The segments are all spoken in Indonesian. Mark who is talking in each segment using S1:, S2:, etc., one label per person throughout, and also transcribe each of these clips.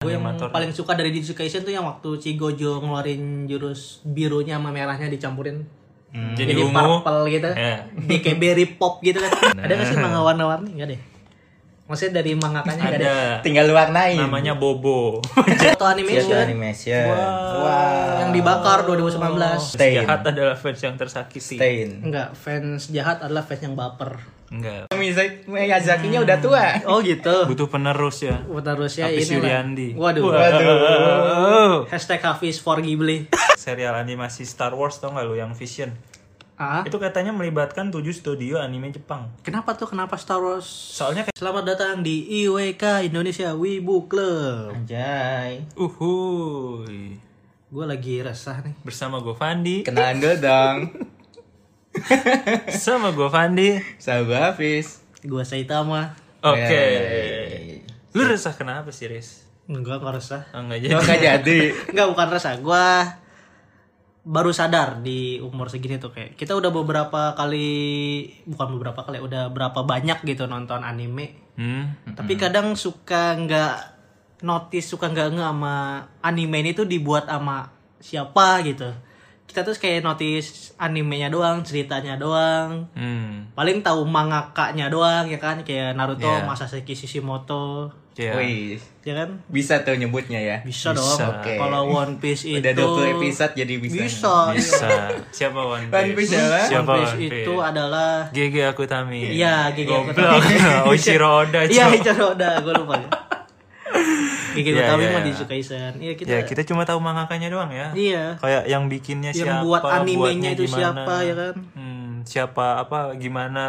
S1: Gue yang
S2: Animator.
S1: paling suka dari Jujutsu Kaisen tuh yang waktu si Gojo ngeluarin jurus birunya sama merahnya dicampurin Hmm.
S2: Jadi ungu.
S1: purple gitu
S2: Iya.
S1: DKB pop gitu kan ada nggak sih manga warna-warni nggak deh maksudnya dari mangakanya nggak ada
S2: Ada
S3: Tinggal diwarnain.
S2: namanya Bobo.
S1: atau animation
S3: Kyoto Animation.
S1: yang dibakar 2019
S3: Stain.
S2: Jahat adalah fans yang tersakiti.
S3: Stain.
S1: Enggak, fans jahat adalah fans yang baper
S2: Enggak.
S3: Miyazaki- Miyazaki-nya udah tua.
S1: oh gitu
S2: Butuh penerus ya.
S1: terusnya
S2: Hafiz
S1: ini lah.
S2: Yuriandi.
S1: waduh,
S2: Waduh.
S1: hashtag Hafiz for Ghibli
S2: Oh. Serial animasi Star Wars tau gak lu yang Vision?
S1: ah
S2: Itu katanya melibatkan 7 studio anime Jepang.
S1: kenapa tuh kenapa Star Wars
S2: Soalnya kayak
S1: Selamat datang di IWK Indonesia Wibu Club.
S3: Anjay.
S2: uhuy.
S1: Gue lagi resah nih.
S2: Bersama gue Fandi.
S3: Kenalan dulu dong.
S2: Sama gue Fandi.
S3: Sahabat Hafiz.
S1: Gue Saitama.
S3: Oh,
S2: Oke.
S3: iya, Yeay.
S2: Lu resah kenapa sih, Riz?
S1: Enggak nggak resah.
S2: Oh, enggak jadi.
S3: Lo gak Ya. jadi.
S1: Enggak bukan resah. Gue baru sadar di umur segini tuh kayak kita udah beberapa kali bukan beberapa kali udah berapa banyak gitu nonton anime.
S2: Hmm.
S1: Tapi kadang suka nggak notice suka nggak nge sama anime ini tuh dibuat sama siapa gitu. Kita tuh kayak notice animenya doang, ceritanya doang,
S2: Hmm.
S1: paling tahu mangakanya doang ya kan kayak Naruto,
S2: Iya.
S1: Masashi Kishimoto,
S2: Ya.
S3: Wih.
S1: ya kan?
S3: Bisa tuh nyebutnya ya.
S1: Bisa,
S2: Bisa.
S1: dong.
S3: Oke.
S1: Kalau One Piece itu
S3: Udah 20 episode jadi bisa.
S1: Bisa.
S2: Bisa. Siapa One
S3: One Piece apa?
S1: One
S2: Siapa
S1: Piece itu adalah
S2: GG aku Tami.
S1: Iya, GG aku Tami.
S2: Goblok. Oh, Oshiro Oda.
S1: Iya,
S2: cuy.
S1: Ichiro Oda, gue lupa. Gigi
S2: Iya,
S1: Utami
S2: iya,
S1: mah
S2: iya.
S1: disukai Sen. Iya, kita,
S2: Ya, kita cuma tahu mangakanya doang ya.
S1: Iya.
S2: Kayak yang bikinnya
S1: Yang
S2: siapa,
S1: buat animenya
S2: buatnya
S1: itu
S2: gimana.
S1: siapa, ya kan?
S2: Hmm, siapa apa gimana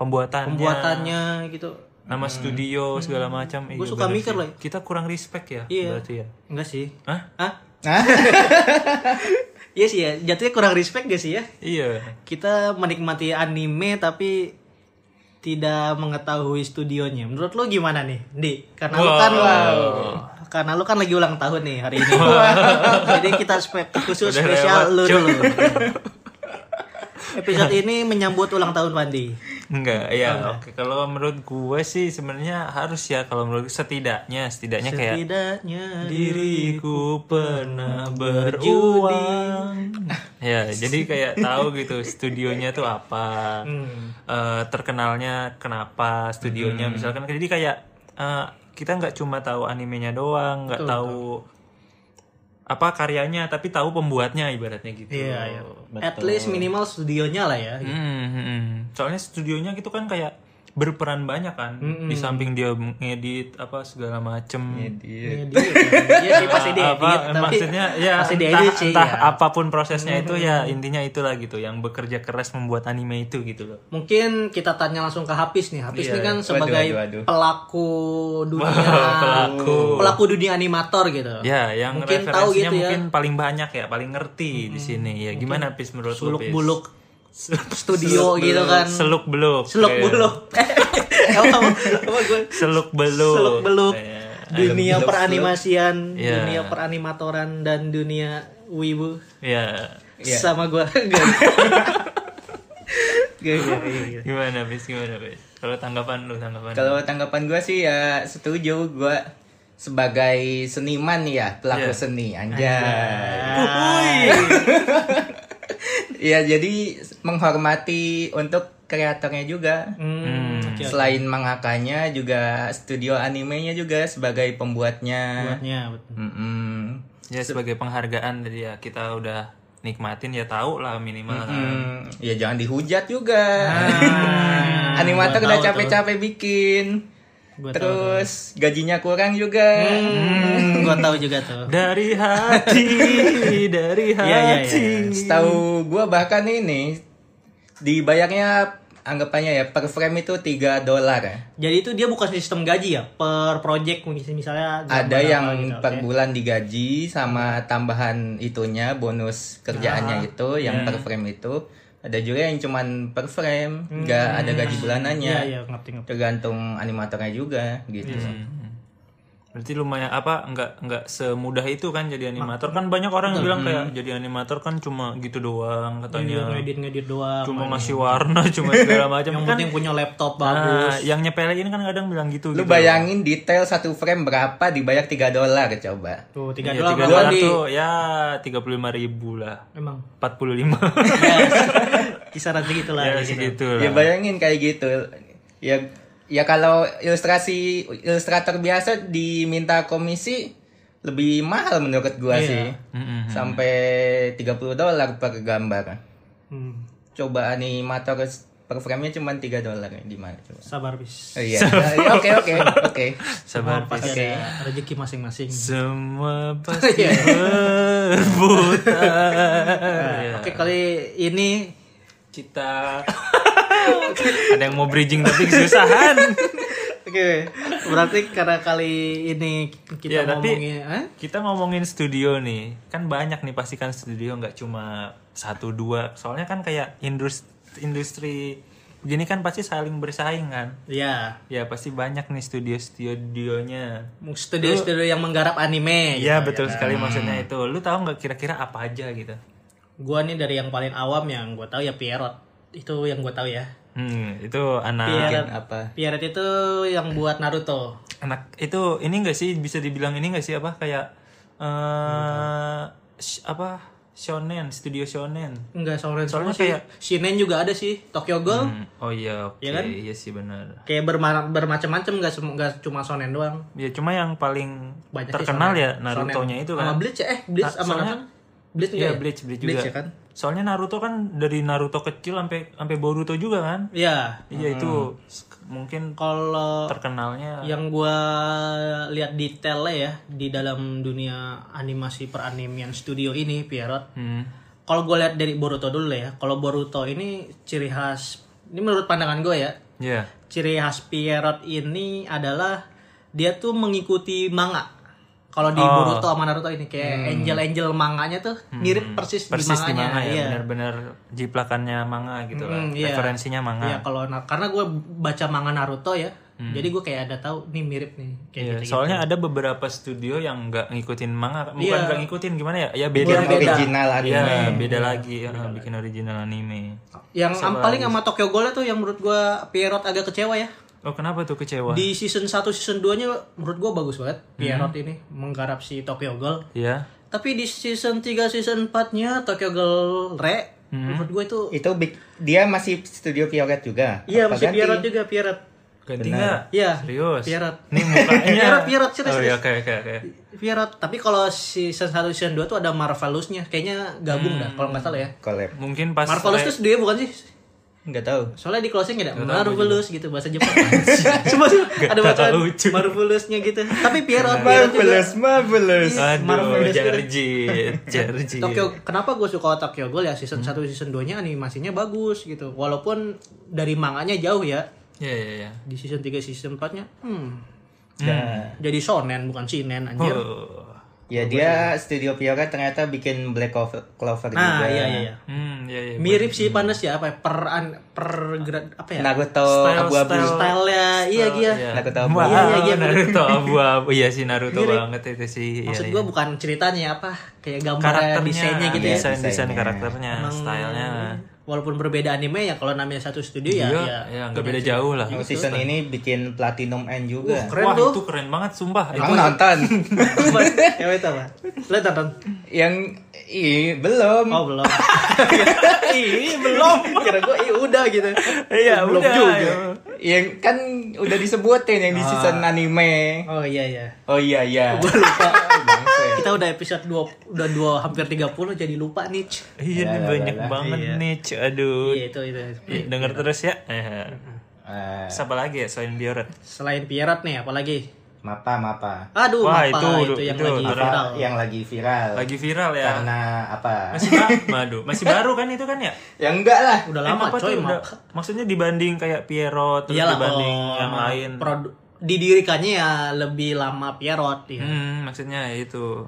S2: pembuatannya.
S1: pembuatannya gitu.
S2: Nama studio segala macam. Iya,
S1: suka
S2: bener
S1: mikir
S2: sih.
S1: loh.
S2: Kita kurang respect ya
S1: Iya.
S2: berarti ya.
S1: Enggak sih.
S2: Hah?
S1: Hah?
S3: Hah?
S1: Iya sih ya, jatuhnya kurang respect gak sih ya?
S2: Iya.
S1: kita menikmati anime tapi tidak mengetahui studionya. Menurut lo gimana nih, Di? Karena lu kan karena lu kan lagi ulang tahun nih hari ini. Jadi kita spe- khusus
S2: Udah
S1: spesial
S2: lewat,
S1: lu
S2: cuy.
S1: dulu. Episode ini menyambut ulang tahun Pandi.
S2: Enggak, ya. Oke, kalau menurut gue sih sebenarnya harus ya kalau menurut gue setidaknya setidaknya kayak
S1: Setidaknya
S2: Diriku pernah beruang.
S1: Berjuang.
S2: ya, jadi kayak tahu gitu studionya tuh apa,
S1: Hmm.
S2: eh, terkenalnya kenapa studionya misalkan. Jadi kayak eh, kita nggak cuma tahu animenya doang, nggak tahu apa karyanya, tapi tahu pembuatnya ibaratnya gitu.
S1: Iya, iya. At least minimal studionya lah ya.
S2: Hmm, hmm, hmm. Soalnya studionya gitu kan kayak berperan banyak kan,
S1: Hmm.
S2: di samping dia ngedit apa segala macem.
S1: Iya
S3: Edit.
S1: dia kan. Iya sih pasti diedit,
S2: apa
S1: tapi
S2: maksudnya ya
S1: pasti
S2: entah,
S1: diedit sih,
S2: entah
S1: ya. Hmm.
S2: apapun prosesnya itu ya intinya itulah gitu yang bekerja keras membuat anime itu gitu loh
S1: Mungkin kita tanya langsung ke Hafiz nih. Hafiz
S2: Iya,
S1: ini kan
S3: iya. Waduh,
S1: sebagai
S3: waduh, waduh.
S1: pelaku dunia
S2: pelaku.
S1: pelaku dunia animator gitu.
S2: ya yang
S1: Mungkin
S2: referensinya
S1: tahu gitu ya. Hmm,
S2: mungkin paling banyak ya paling ngerti di sini ya gimana pis menurut lu, Pis?
S1: Suluk-buluk studio gitu kan.
S2: seluk beluk
S1: Seluk-buluk.
S3: ya.
S1: Apa- apa gue?
S2: seluk beluk
S1: Seluk-beluk. Dunia
S3: Iya, Seluk-beluk.
S1: peranimasian,
S2: Iya.
S1: dunia peranimatoran dan dunia wibu.
S2: ya
S3: Iya.
S1: Sama gua. Enggak.
S3: Iya, iya, iya, iya.
S2: gimana pis gimana pis kalau tanggapan lu tanggapan
S3: Kalau tanggapan gue sih ya setuju gue sebagai seniman ya pelaku
S2: Iya.
S3: seni anjay.
S1: Ah.
S3: Iya jadi menghormati untuk kreatornya juga.
S1: Hmm, oke, oke.
S3: Selain mangakanya juga studio animenya juga sebagai pembuatnya.
S1: Buatnya, betul.
S3: Mm-mm.
S2: ya sebagai penghargaan tadi ya kita udah nikmatin ya tahu lah minimal
S1: Ah.
S2: kan.
S3: Hmm, ya jangan dihujat juga.
S1: Ah.
S3: Animator udah capek-capek bikin.
S1: Gua tahu
S3: Terus gajinya kurang juga.
S1: Hmm, gua tahu juga tuh.
S2: dari hati dari hati
S1: Iya, iya,
S3: Setahu gua bahkan ini dibayarnya anggapannya ya per frame itu 3 dolar. ya.
S1: Jadi itu dia bukan sistem gaji ya per project mungkin misalnya gambar
S3: Ada
S1: apa
S3: yang
S1: gitu,
S3: per
S1: oke.
S3: bulan digaji sama tambahan itunya bonus
S1: Ah,
S3: kerjaannya itu
S1: iya.
S3: yang per frame itu. Ada juga yang cuman per frame,
S1: Hmm.
S3: nggak ada gaji bulanannya.
S1: Iya iya ngerti ngerti. Hmm.
S3: Tergantung animatornya juga gitu.
S2: Berarti lumayan apa nggak nggak semudah itu kan jadi
S1: Nah,
S2: animator kan banyak orang yang bilang
S1: Hmm.
S2: kayak jadi animator kan cuma gitu doang katanya
S1: ngedit ngedit doang Ah.
S2: cuma ngasih warna cuma segala macam
S1: Iya. yang
S2: kan
S1: penting punya laptop
S2: nah,
S1: bagus
S2: yang nyepelin kan kadang bilang gitu
S3: Lu
S2: gitu.
S3: bayangin detail satu frame berapa dibayar 3 dolar coba.
S1: tuh tiga
S2: Ya,
S1: dolar
S2: tiga
S1: doang
S2: dolar
S1: di
S2: tuh ya tiga puluh lima ribu lah
S1: emang
S2: empat puluh lima
S1: ya, kisaran gitu. segitu lah
S2: ya
S1: di situ.
S2: segitu
S3: Ya
S2: lah
S3: bayangin kayak gitu. Ya ya kalau ilustrasi ilustrator biasa diminta komisi lebih mahal menurut gua
S1: Iya.
S3: sih.
S1: Hmm,
S2: Mm-mm.
S3: Sampai 30 dolar per gambar.
S1: Hmm,
S3: Coba animator per frame-nya cuma 3 dolar ya, di mana coba.
S1: sabar bis
S3: Oh, Iya. Ya, Oke oke oke.
S2: sabar
S1: pasti
S3: Oke.
S1: ada rezeki masing-masing
S2: semua pasti
S1: Iya.
S2: berputar Ya.
S1: oke kali ini
S2: kita ada yang mau bridging tapi kesusahan
S1: Oke, berarti karena kali ini
S2: Ya,
S1: kita
S2: tapi-
S1: ngomongin, eh?
S2: kita ngomongin studio nih kan banyak nih pastikan studio nggak cuma satu dua soalnya kan kayak industri industri begini kan pasti saling bersaing kan
S1: ya,
S2: ya pasti banyak nih studio studionya
S1: studio-studio yang menggarap anime.
S2: Iya betul sekali maksudnya itu lu tahu nggak kira-kira apa aja gitu
S1: Gua nih dari yang paling awam yang gua tahu ya Pierrot. Itu yang gua tahu ya.
S2: hmm itu anak
S1: Pierrot,
S3: Apa?
S1: Pierrot itu yang buat Naruto.
S2: anak itu ini enggak sih bisa dibilang ini enggak sih apa kayak eh sh- apa shonen studio shonen
S1: Enggak soalnya
S2: Soalnya
S1: soalnya sih.
S2: kayak-
S1: Shinen juga ada sih, Tokyo Ghoul.
S2: Hmm, oh iya oke
S1: Iya kan?
S2: iya sih benar
S1: Kayak berma- bermacam-macam enggak enggak cuma shonen doang.
S2: ya cuma yang paling
S1: Banyak sih
S2: terkenal
S1: shonen.
S2: ya Naruto nya
S1: Shonen.
S2: itu
S1: Sama
S2: kan
S1: Bleach ya? eh Bleach
S2: Nah,
S1: sama
S2: soalnya-
S1: apa? Bleach juga
S2: Iya,
S1: ya?
S2: Bleach, Bleach juga.
S1: ya kan?
S2: soalnya Naruto kan dari Naruto kecil sampai sampai Boruto juga kan
S1: Iya.
S2: iya itu s- mungkin
S1: Kalau
S2: terkenalnya
S1: yang gua lihat detailnya ya di dalam dunia animasi peranimian studio ini Pierrot
S2: Hmm.
S1: kalau gua lihat dari Boruto dulu lah ya kalau Boruto ini ciri khas ini menurut pandangan gue ya
S2: Iya.
S1: ciri khas Pierrot ini adalah dia tuh mengikuti manga kalau
S2: Oh.
S1: di Boruto sama Naruto ini kayak angel-angel manganya tuh mirip persis,
S2: Hmm. persis
S1: di
S2: di
S1: manganya
S2: manga ya
S1: iya.
S2: benar-benar jiplakannya manga gitu lah
S1: Hmm, iya.
S2: referensinya manga Hmm.
S1: Iya, kalau na- karena gue baca manga Naruto ya jadi gue kayak ada tahu nih mirip nih kayak
S2: Iya,
S1: gitu
S2: soalnya ada beberapa studio yang nggak ngikutin manga, bukan
S1: Iya.
S2: nggak ngikutin gimana ya? Ya beda,
S1: Yang beda.
S3: Original anime.
S2: Iya, beda lagi ya, bikin original anime.
S1: Yang am- paling sama Tokyo Ghoul tuh yang menurut gua Pierrot agak kecewa ya.
S2: Oh, kenapa tuh kecewa?
S1: Di season 1 season 2-nya menurut gua bagus banget
S2: Hmm.
S1: Pierrot ini menggarap si Tokyo Ghoul.
S2: Iya.
S1: Tapi di season 3 season 4-nya Tokyo Ghoul Re
S2: Hmm.
S1: menurut gua itu
S3: Itu big- dia masih studio Pioret juga.
S1: Iya,
S3: Apa
S1: masih
S3: ganti?
S1: Pierrot juga Pierrot.
S2: Ganti nggak?
S1: Iya.
S2: Serius.
S1: Pierrot.
S2: Nih mukanya.
S1: Pierrot, Pierrot, serius,
S2: Oh, iya,
S1: serius.
S2: oke, oke, oke.
S1: Pierrot. Tapi kalau season 1 season 2 tuh ada Marvelous-nya. Kayaknya gabung dah kalau nggak salah ya.
S3: Collab.
S2: Mungkin Hmm. pas
S1: Marvelous
S2: re-
S1: tuh dia bukan sih?
S3: Enggak tahu.
S1: Soalnya di closing ada Marvelous gitu bahasa Jepang. Cuma ada bacaan
S2: tahu lucu.
S1: Marvelous-nya gitu. Tapi Pierrot, Pierrot juga. Nah,
S3: Iya. marvelous.
S2: Aduh,
S1: Marvelous gitu.
S2: Jarjit, Jarjit.
S1: Tokyo kenapa gue suka Tokyo Ghoul ya season 1 season 2 nya animasinya bagus gitu walaupun dari manganya jauh ya
S2: Iya, iya, iya.
S1: di season 3 season 4 nya hmm,
S3: Nah,
S1: jadi shonen bukan shinen anjir
S2: Oh.
S3: ya dia studio Pioret ternyata bikin Black Clover, Clover
S1: nah
S3: juga.
S1: iya iya iya
S2: Hmm, iya, iya.
S1: mirip sih panas ya apa ya, peran pergerak apa ya
S3: Naruto
S2: Style-
S3: abu-abu.
S2: style-
S1: style ya iya iya
S3: Naruto
S2: Wah,
S3: abu.
S1: Iya, iya, iya,
S2: Naruto abu-abu. Iya sih Naruto
S1: Mirip.
S2: banget itu sih. Iya,
S1: maksud
S2: iya.
S1: gue bukan ceritanya apa kayak gambar
S2: karakternya
S1: desainnya iya, gitu ya
S3: Iya.
S2: desain desain
S3: Desainnya.
S2: karakternya stylenya
S1: walaupun berbeda anime ya kalau namanya satu studio
S2: iya
S1: ya
S2: ya,
S1: ya
S2: nggak beda jauh lah
S3: Oh, season
S1: kan.
S3: ini bikin Platinum End juga.
S1: keren Iya.
S2: wah
S1: tuh
S2: itu keren banget sumpah itu
S3: Kamu nonton?
S1: apa ya itu apa lo tonton
S3: Yang i belum.
S1: Oh belum. Ih belum. Kira gue iya udah gitu.
S2: iya
S1: belum
S2: udah
S1: juga.
S2: iya.
S3: Yang kan udah disebutin yang di season anime.
S1: Oh iya iya.
S3: Oh iya iya.
S1: Gue lupa.
S3: Bangsa.
S1: Kita udah episode 2 udah 2 hampir 30 jadi lupa nih.
S2: iya ini banyak banget nih cu. aduh
S1: Iya itu itu.
S2: denger terus ya Eh.
S3: Eh,
S2: Terus apa lagi ya selain Bioret
S1: Selain Pierrot nih apalagi?
S3: mapa mapa.
S1: Aduh,
S2: Wah,
S1: apa?
S2: itu-
S1: itu yang
S2: itu-
S1: lagi
S2: itu-
S1: viral.
S3: Apa yang lagi viral.
S2: lagi viral ya
S3: Karena apa?
S2: masih baru aduh masih baru kan itu kan ya
S3: Ya enggak lah.
S1: Udah
S2: Eh,
S1: lama
S2: Mappa
S1: coy,
S2: tuh udah-
S1: map.
S2: maksudnya dibanding kayak Pierrot terus
S1: Iyalah oh,
S2: dibanding
S1: kalau
S2: yang lain
S1: produ- didirikannya ya lebih lama Pierrot ya.
S2: hmm, maksudnya ya itu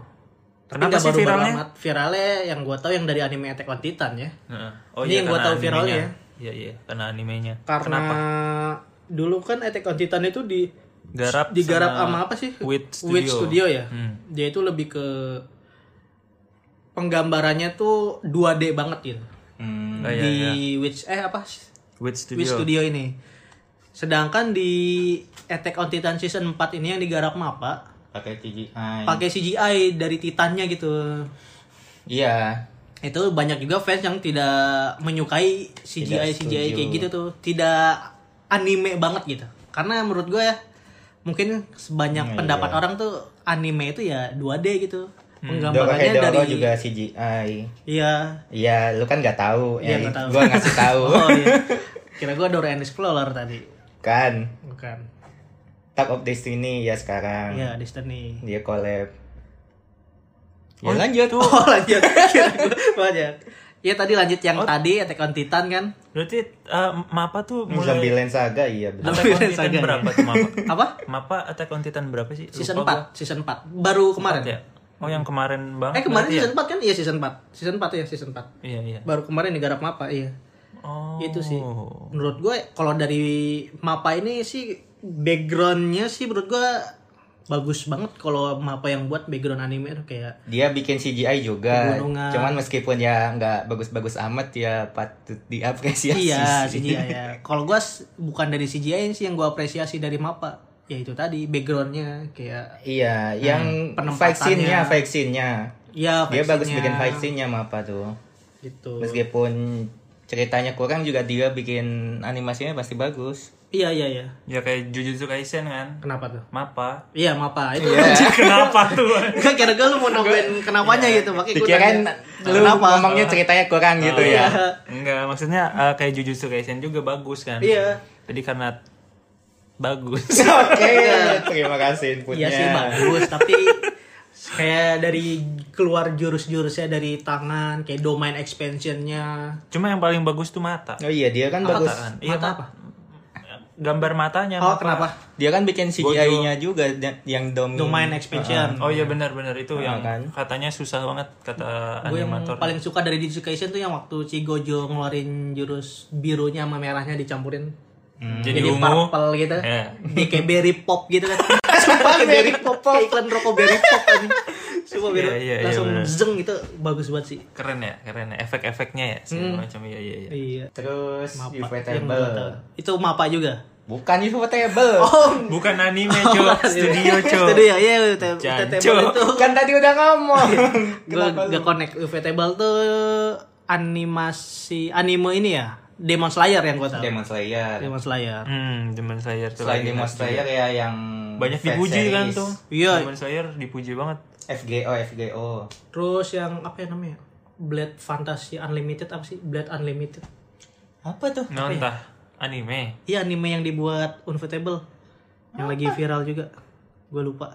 S1: Tapi
S2: kenapa
S1: nggak
S2: sih
S1: baru-baru
S2: viralnya
S1: amat. viralnya yang gue tahu yang dari anime Attack on Titan ya.
S2: Heeh. Oh
S1: Ini yang gua
S2: karena iya,
S1: tahu ya. viralnya
S2: animenya. Iya iya, karena animenya.
S1: karena dulu kan Attack on Titan itu di
S2: garap
S1: digarap sama apa sih?
S2: With Studio. Hmm.
S1: With Studio ya. Dia itu lebih ke penggambarannya tuh 2D banget gitu.
S3: Hmm,
S2: Ah, iya,
S1: di
S2: iya.
S1: Witch eh apa? Studio.
S2: with studio,
S1: Witch Studio ini. Sedangkan di Attack on Titan season 4 ini yang digarap Mapa
S3: pakai
S2: Hmm.
S3: CGI
S1: pakai CGI dari Titannya gitu.
S3: iya
S1: Itu banyak juga fans yang tidak menyukai CGI CGI kayak gitu tuh. Tidak anime banget gitu. Karena menurut gue ya mungkin
S3: Iya,
S1: sebanyak pendapat orang tuh anime itu ya 2D gitu.
S3: Hmm, Doro
S1: Penggambarannya
S3: Hedoro
S1: dari
S3: juga CGI
S1: Iya,
S3: Iya, lu kan nggak tahu.
S1: Iya,
S3: Eh,
S1: nggak tahu.
S3: Gua ngasih tahu.
S1: Oh iya. Kira gua Dora and Explorer tadi.
S3: kan.
S1: Bukan.
S3: Tag of Destiny ya sekarang.
S1: Iya, Destiny.
S3: Dia collab. Ya
S2: Oh,
S3: lanjut.
S2: tuh.
S1: Oh, lanjut. Kira gua lanjut. Ya tadi lanjut yang
S2: Oh.
S1: tadi Attack on Titan kan.
S2: berarti eh, mapa tuh mulai
S3: Zombieland Saga iya benar.
S2: Attack on
S1: Zombieland
S2: Titan
S1: Saga, ya.
S2: berapa tuh mapa
S1: Apa?
S2: mapa Attack on Titan berapa sih Lupa
S1: Season
S2: gua.
S1: 4, season 4. Baru kemarin.
S2: ya oh yang kemarin banget
S1: Eh, kemarin
S2: berarti ya?
S1: season 4 kan? Iya, season 4. Season 4 ya, season 4.
S2: iya iya
S1: Baru kemarin digarap Mapa, iya.
S2: oh
S1: Itu sih. Menurut gue kalau dari Mapa ini sih backgroundnya sih menurut gue bagus banget kalau Mapa yang buat background anime tuh kayak
S3: Dia bikin CGI juga.
S1: Pegunungan.
S3: Cuman meskipun ya nggak bagus-bagus amat ya patut diapresiasi.
S1: Iya
S3: sih.
S1: CGI ya. Kalau gue bukan dari CGI sih yang gue apresiasi dari mapa, ya itu tadi backgroundnya kayak
S3: Iya, yang
S1: Hmm, penempatannya.
S3: vaksinnya, vaksinnya.
S1: ya
S3: Dia bagus
S1: vaksinnya,
S3: bikin vaksinnya sama apa tuh.
S1: gitu.
S3: Meskipun ceritanya kurang juga dia bikin animasinya pasti bagus.
S1: Iya iya iya.
S2: ya kayak Jujutsu Kaisen kan
S1: Kenapa tuh?
S2: mapa
S1: Iya mapa itu.
S2: kenapa tuh
S1: Kan kira-kira lu mau nambahin kenapanya gitu makanya gua
S3: Iya. Dikirain
S1: nanya,
S3: lu
S1: kenapa?
S3: ngomongnya ceritanya kurang gitu ya.
S1: Oh,
S2: Enggak, maksudnya eh, kayak Jujutsu Kaisen juga bagus kan.
S1: Iya.
S2: Jadi karena bagus.
S3: Oke, terima kasih
S1: Iya
S3: inputnya.
S1: sih bagus tapi kayak dari keluar jurus-jurusnya dari tangan kayak domain expansionnya
S2: Cuma yang paling bagus tuh mata.
S3: Oh iya, dia kan bagus.
S2: kan? Iya,
S1: mata
S2: Pak.
S1: apa?
S2: Gambar matanya.
S1: Oh
S2: Pak.
S1: kenapa?
S3: Dia kan bikin CGI-nya juga da- yang
S2: Hmm.
S3: dom
S1: Domain expansion.
S2: Oh iya benar-benar itu yang
S3: kan?
S2: katanya susah banget kata
S1: gue yang
S2: animator.
S1: paling suka dari Jujutsu Kaisen tuh yang waktu Gojo ngeluarin jurus birunya sama merahnya dicampurin
S2: Hmm. Jadi,
S1: jadi
S2: ungu.
S1: purple gitu
S2: Iya.
S1: Dia kayak berry pop gitu kan sumpah kayak berry pop kayak iklan rokok berry pop kan sumpah berry
S2: Iya, iya, iya,
S1: langsung
S2: bener.
S1: zeng gitu bagus banget sih
S2: Keren ya, keren ya. Efek-efeknya ya
S1: Hmm.
S2: segala macam iya iya iya.
S1: iya
S3: Terus
S1: Mapa, yang
S3: Ufotable.
S1: gua Iya, tahu. itu mapa juga
S3: Bukan Ufotable.
S1: oh
S2: Bukan anime, Cok. Studio, Cok.
S1: Iya. studio ya UT
S2: Jancu.
S1: UTTable itu
S3: Kan tadi udah ngomong.
S1: gue gak connect UVTable tuh animasi anime ini ya Demon Slayer yang gue tahu
S3: Demon Slayer.
S1: Demon Slayer
S2: Hmm, Demon Slayer tuh
S3: Selain
S2: lagi.
S3: Demon Slayer ya yang
S2: banyak
S3: fan
S2: dipuji kan
S3: series.
S2: tuh.
S1: Iya.
S2: Demon Slayer dipuji banget.
S3: FGO, FGO.
S1: Terus yang apa ya namanya? Blade Fantasy Unlimited apa sih? Blade Unlimited.
S3: Apa tuh?
S2: Nah,
S1: ya?
S2: entah anime.
S1: Iya anime yang dibuat Unforgettable. Yang lagi viral juga. Gue lupa.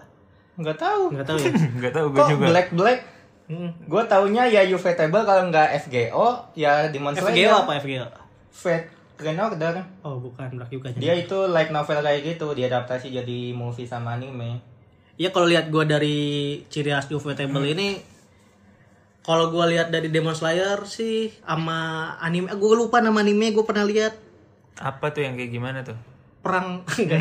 S3: Nggak tahu.
S1: Nggak tahu ya.
S2: Enggak tahu gue
S3: Kok
S2: juga.
S3: Black Black?
S1: Mm.
S3: Gue taunya ya Ufotable kalau nggak FGO ya Demon
S1: FGO
S3: Slayer.
S1: apa FGO?
S3: Fate Grand Order.
S1: Oh, bukan Black Yuga.
S3: Dia itu like novel kayak gitu, diadaptasi jadi movie sama anime.
S1: Iya kalau lihat gue dari ciri khas Unforgettable
S2: Hmm.
S1: ini kalau gue lihat dari Demon Slayer sih sama anime gue lupa nama anime gue pernah lihat
S2: Apa tuh yang kayak gimana tuh?
S1: perang enggak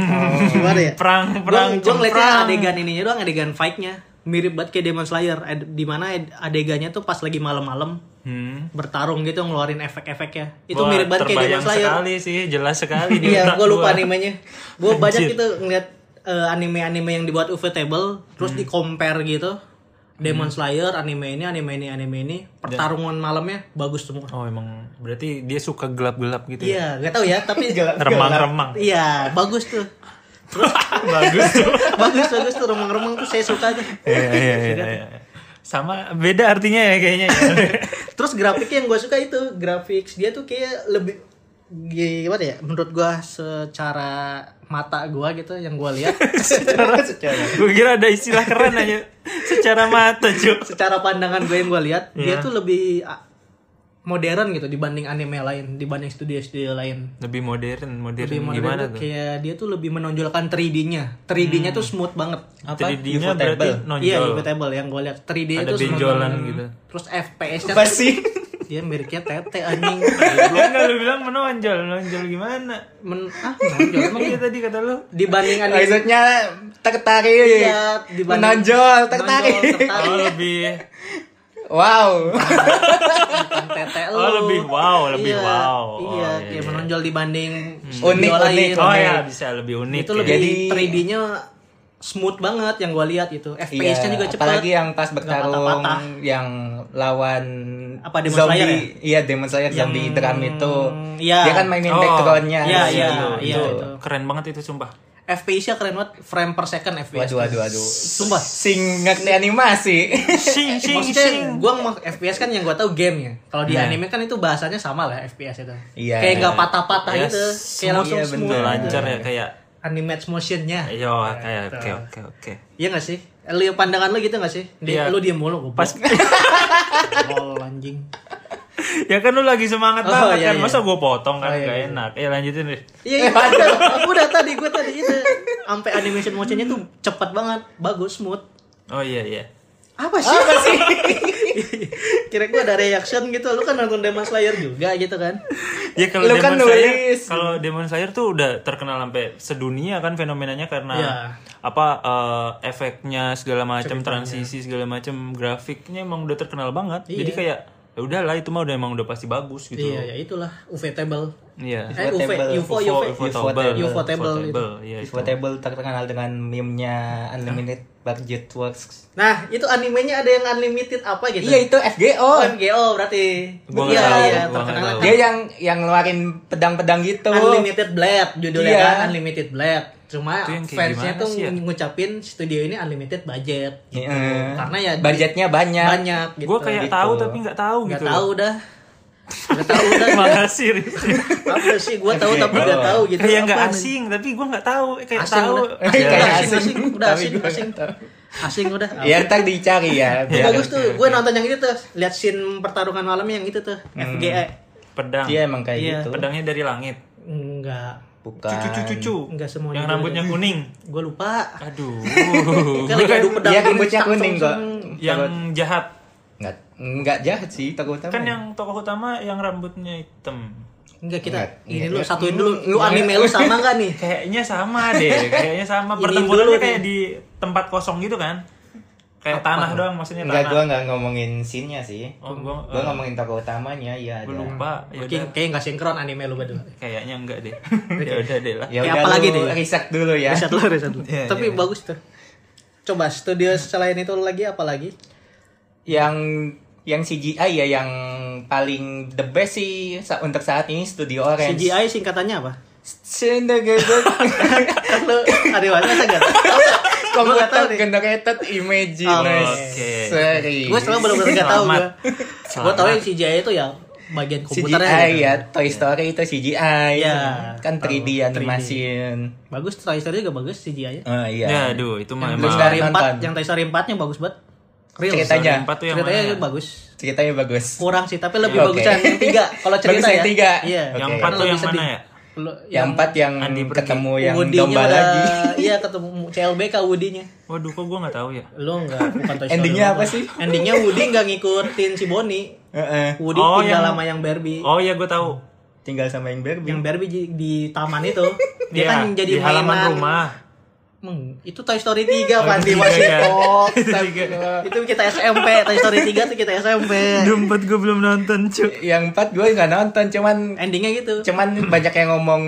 S1: gimana ya
S2: Oh. Perang, perang,
S1: perang gue ngeliatnya
S2: cemprang.
S1: adegan ininya doang adegan fightnya mirip banget kayak Demon Slayer ad- di mana ad- adegannya tuh pas lagi malam-malam
S2: Hmm.
S1: bertarung gitu ngeluarin efek-efeknya itu
S2: Wah,
S1: mirip banget kayak Demon
S2: terbayang
S1: Slayer
S2: sekali sih, jelas sekali. di
S1: iya
S2: otak
S1: gue lupa
S2: gua.
S1: animenya gue banyak gitu ngeliat eh, anime-anime yang dibuat UV Table terus di compare gitu Demon Slayer anime ini anime ini anime ini pertarungan malamnya bagus semua
S2: Oh, emang berarti dia suka gelap-gelap gitu ya.
S1: iya gak tau ya tapi
S2: Remang-remang.
S1: iya bagus tuh
S2: Bagus tuh.
S1: bagus bagus tuh remang-remang tuh saya suka tuh
S2: Iya, iya, iya, iya. Sama beda artinya ya kayaknya. ya.
S1: Terus grafiknya yang gue suka itu grafik dia tuh kayak lebih gimana ya menurut gue secara mata gue gitu yang gue lihat
S2: Gue kira ada istilah keren aja secara mata, Cuk.
S1: secara pandangan gue yang gue lihat dia
S2: Iya.
S1: tuh lebih ah, modern gitu dibanding anime lain dibanding studio-studio lain
S2: Lebih modern, modern,
S1: lebih modern
S2: Iya, gimana
S1: tuh
S2: tuh?
S1: kayak dia tuh lebih menonjolkan 3D-nya 3D-nya tuh smooth banget
S3: Apa?
S2: 3D-nya berarti
S3: Ufotable.
S2: nonjol.
S1: Iya, Ufotable yang gue lihat 3D
S2: Ada
S1: itu smooth
S2: benjolan
S1: banget.
S2: gitu.
S1: Terus FPS-nya
S3: Apa sih?
S1: dia meriknya tete anjing
S2: Enggak lu bilang menonjol, menonjol gimana?
S1: Men ah menonjol emang
S2: Iya tadi kata lu.
S1: dibanding anime
S3: Maksudnya tertarik,
S1: Iya, dibanding-
S3: menonjol,
S1: menonjol,
S3: tertarik.
S1: tertarik.
S2: Oh lebih
S3: Wow.
S1: bukan tete lu.
S2: Oh, lebih wow, lebih
S1: Iya,
S2: wow.
S1: Iya,
S2: Oh, iya,
S1: kayak
S2: iya.
S1: menonjol dibanding
S3: Unik,
S1: video lain.
S3: unik.
S2: Oh ya bisa lebih unik.
S1: Itu
S2: ya.
S1: lebih
S3: Jadi- Iya,
S1: 3D-nya smooth banget yang gua lihat gitu. itu. FPS-nya juga cepat.
S3: Apalagi yang pas bertarung
S1: patah-patah.
S3: yang lawan
S1: Apa, Demon
S3: zombie,
S1: Slayer ya?
S3: iya Demon Slayer zombie drum itu.
S1: iya.
S3: Dia kan mainin
S2: Oh,
S3: backgroundnya. Gitu.
S1: iya,
S3: di
S1: iya,
S3: situ.
S1: iya.
S3: Itu.
S1: itu.
S2: Keren banget itu sumpah.
S1: FPS-nya keren banget, frame per second FPS.
S3: Waduh, waduh, waduh.
S1: Sumpah.
S3: Sing ngerti animasi.
S2: Sing sing sing.
S1: Maksudnya gua ngomong FPS kan yang gua tahu gamenya. Kalau di
S2: Nah.
S1: anime kan itu bahasanya sama lah FPS itu.
S3: Iya.
S1: Kayak nggak patah-patah
S2: Ya,
S1: gitu, kayak
S2: smooth,
S1: langsung
S3: iya,
S1: smooth.
S2: Udah
S3: bener.
S2: lancar Iya. ya kayak
S1: Animate motion-nya.
S2: Yo, kayak oke oke oke.
S1: Iya gak sih? Lu pandangan lu gitu gak sih? Di,
S2: Iya.
S1: Lu diem mulu goblok.
S2: Pas
S1: Lol, anjing.
S2: ya kan lu lagi semangat
S1: Oh,
S2: banget
S1: iya,
S2: kan.
S1: iya.
S2: Masa gua potong kan
S1: Oh, iya,
S2: nggak
S1: iya.
S2: enak. Ya lanjutin deh.
S1: Iya, iya udah, udah tadi gue tadi itu sampai animation motionnya tuh cepat banget, bagus, smooth.
S2: Oh iya iya.
S1: Apa sih? Apa sih? Kira gue ada reaction gitu, lu kan nonton Demon Slayer juga gitu kan?
S2: Ya kalau
S3: Lu
S2: Demon
S3: kan
S2: Slayer,
S3: nulis.
S2: kalau Demon Slayer tuh udah terkenal sampai sedunia kan fenomenanya karena
S1: Iya.
S2: apa eh, efeknya segala macam, transisi segala macam, grafiknya emang udah terkenal banget. Jadi kayak ya udahlah itu mah udah emang udah pasti bagus gitu.
S1: Iya, ya itulah UV-table.
S2: Iya.
S1: Eh, UV,
S3: Ufotable.
S1: UFO, UV.
S2: Ufotable.
S1: Ufotable itu.
S2: Ufotable, Iya itu.
S3: Portable terkenal dengan meme-nya Unlimited Budget Works.
S1: Nah, itu animenya ada yang unlimited apa gitu?
S3: Iya, itu
S1: Oh,
S3: FGO.
S1: MGO berarti.
S2: Gua nggak
S1: iya,
S2: tahu,
S1: iya, terkenal
S2: gua nggak tahu.
S1: kan.
S3: Dia yang yang ngeluarin pedang-pedang gitu.
S1: Unlimited Blade judulnya
S3: Iya.
S1: kan Unlimited Blade. Cuma
S2: Itu yang kayak
S1: fansnya
S2: gimana
S1: tuh
S2: sih ya?
S1: ngucapin studio ini unlimited budget gitu.
S3: Iya.
S1: Karena ya di-
S3: Budgetnya banyak.
S1: banyak gitu.
S2: Gue kayak
S3: gitu.
S2: tahu tapi nggak tahu
S1: nggak
S2: gitu.
S1: tahu dah. Nggak tahu dah.
S2: Makasih Rizky.
S1: Apa sih gua tahu tapi nggak tahu gitu.
S2: Kayak Iya, nggak
S1: Apaan?
S2: asing tapi gue nggak tahu. Eh, Kayak
S1: Asing
S2: tahu.
S1: udah. Asing,
S2: Ya.
S1: udah,
S3: Kayak
S1: asing,
S3: asing.
S1: asing, Iya, udah
S3: Tapi
S1: asing,
S3: gua nggak
S1: asing.
S3: tahu.
S1: Asing udah.
S3: Ya ntar dicari ya.
S1: Itu
S2: Ya.
S1: bagus tuh, gue nonton yang itu tuh, lihat scene pertarungan malam yang itu tuh, E. FGE.
S2: Pedang.
S3: Dia emang kayak
S1: Iya.
S3: gitu.
S2: Pedangnya dari langit.
S1: Enggak,
S3: Bukan.
S2: Cucu-cucu.
S1: enggak semua.
S2: Yang rambutnya kuning.
S1: gue lupa.
S2: Aduh.
S1: Kan lagi adu pedang.
S3: Dia
S1: gini,
S3: rambutnya
S1: cang, cang,
S3: Iya, kuning kok.
S1: cang.
S2: yang jahat.
S3: Nggak, nggak jahat sih tokoh utama.
S2: Kan
S1: ya?
S2: yang tokoh utama yang rambutnya hitam.
S1: Enggak kita
S3: Enggak,
S1: ini
S3: iya,
S1: lu
S3: iya.
S1: satuin dulu. Lu
S3: Iya.
S1: anime lu sama gak nih?
S2: Kayaknya sama deh, kayaknya sama.
S1: Ini
S2: Pertempurannya
S1: dulu
S2: kayak di tempat kosong gitu kan. Kayak tanah doang maksudnya
S3: Enggak,
S2: tanah.
S3: gua nggak ngomongin scene-nya sih.
S2: Oh, gua,
S3: Gua ngomongin tokoh utamanya, ya
S2: Gua
S3: ada.
S2: lupa. Ya
S1: Oke, kayaknya nggak sinkron anime lu berdua.
S2: Kayaknya enggak deh. ya udah deh lah.
S3: Ya
S1: Kayak
S3: udah
S1: apa lagi
S3: lagi
S1: deh?
S3: Riset dulu ya.
S1: Riset lu, riset lu.
S2: Iya,
S1: Tapi bagus tuh. Coba studio selain itu lagi apa lagi?
S3: Yang yang CGI ya yang paling the best sih sa- untuk saat ini Studio Orange.
S1: CGI singkatannya apa?
S3: Sendegedeg.
S1: Kan lu ada masa gak? Gua nggak tahu
S3: Komputer
S1: deh.
S3: generated imagination.
S1: Gue selalu bener-bener nggak tahu
S2: Selamat.
S1: gue. Gue tahu ya. yang CGI itu yang bagian komputernya.
S3: CGI
S1: gitu.
S3: ya, Toy Story itu CGI.
S1: Iya.
S3: Kan 3D animation.
S1: Bagus, Toy Story juga bagus CGI-nya.
S3: Ah, iya.
S2: Ya aduh, itu mah
S1: Yang Toy
S2: emang
S1: Story
S3: Nonton.
S1: 4, yang Toy Story 4-nya bagus banget. Real.
S3: Ceritanya.
S2: Yang empat tuh yang
S1: Ceritanya
S2: mana? ya?
S1: itu bagus.
S3: Ceritanya bagus.
S1: Kurang sih, tapi lebih
S3: Oke.
S1: bagusan yang 3. Kalau cerita
S3: Bagus
S1: ya.
S3: yang tiga.
S1: Iya.
S3: Oke.
S2: Yang empat
S1: Kan
S2: tuh
S1: lebih
S2: yang
S1: sedih.
S2: mana ya?
S1: Lu-
S3: Yang empat yang
S2: Andi pergi.
S3: ketemu yang
S1: Woody-nya
S3: domba
S1: udah-
S3: lagi.
S1: Iya ketemu CLBK Woody-nya.
S2: Waduh, kok gua nggak tahu ya.
S1: Lu enggak bukan Toy Story
S3: Endingnya
S1: lu
S3: apa
S1: nggak.
S3: sih?
S1: Endingnya Woody enggak ngikutin si Bonnie.
S3: Heeh.
S1: Woody
S2: Oh,
S1: tinggal
S2: yang-
S1: sama yang Barbie.
S2: Oh iya, gua tahu.
S3: Tinggal sama yang Barbie.
S1: Yang Barbie di, di taman itu. Dia
S2: Iya,
S1: kan jadi
S2: di halaman
S1: mainan.
S2: rumah.
S1: Meng, itu Toy Story 3 Pak di
S2: tiga,
S1: masih
S2: ya.
S1: kok. Itu kita SMP, Toy Story 3 tuh kita SMP.
S2: Dompet gua belum nonton, cuy.
S3: Yang empat gue nggak nonton, cuman
S1: Endingnya gitu.
S3: cuman banyak yang ngomong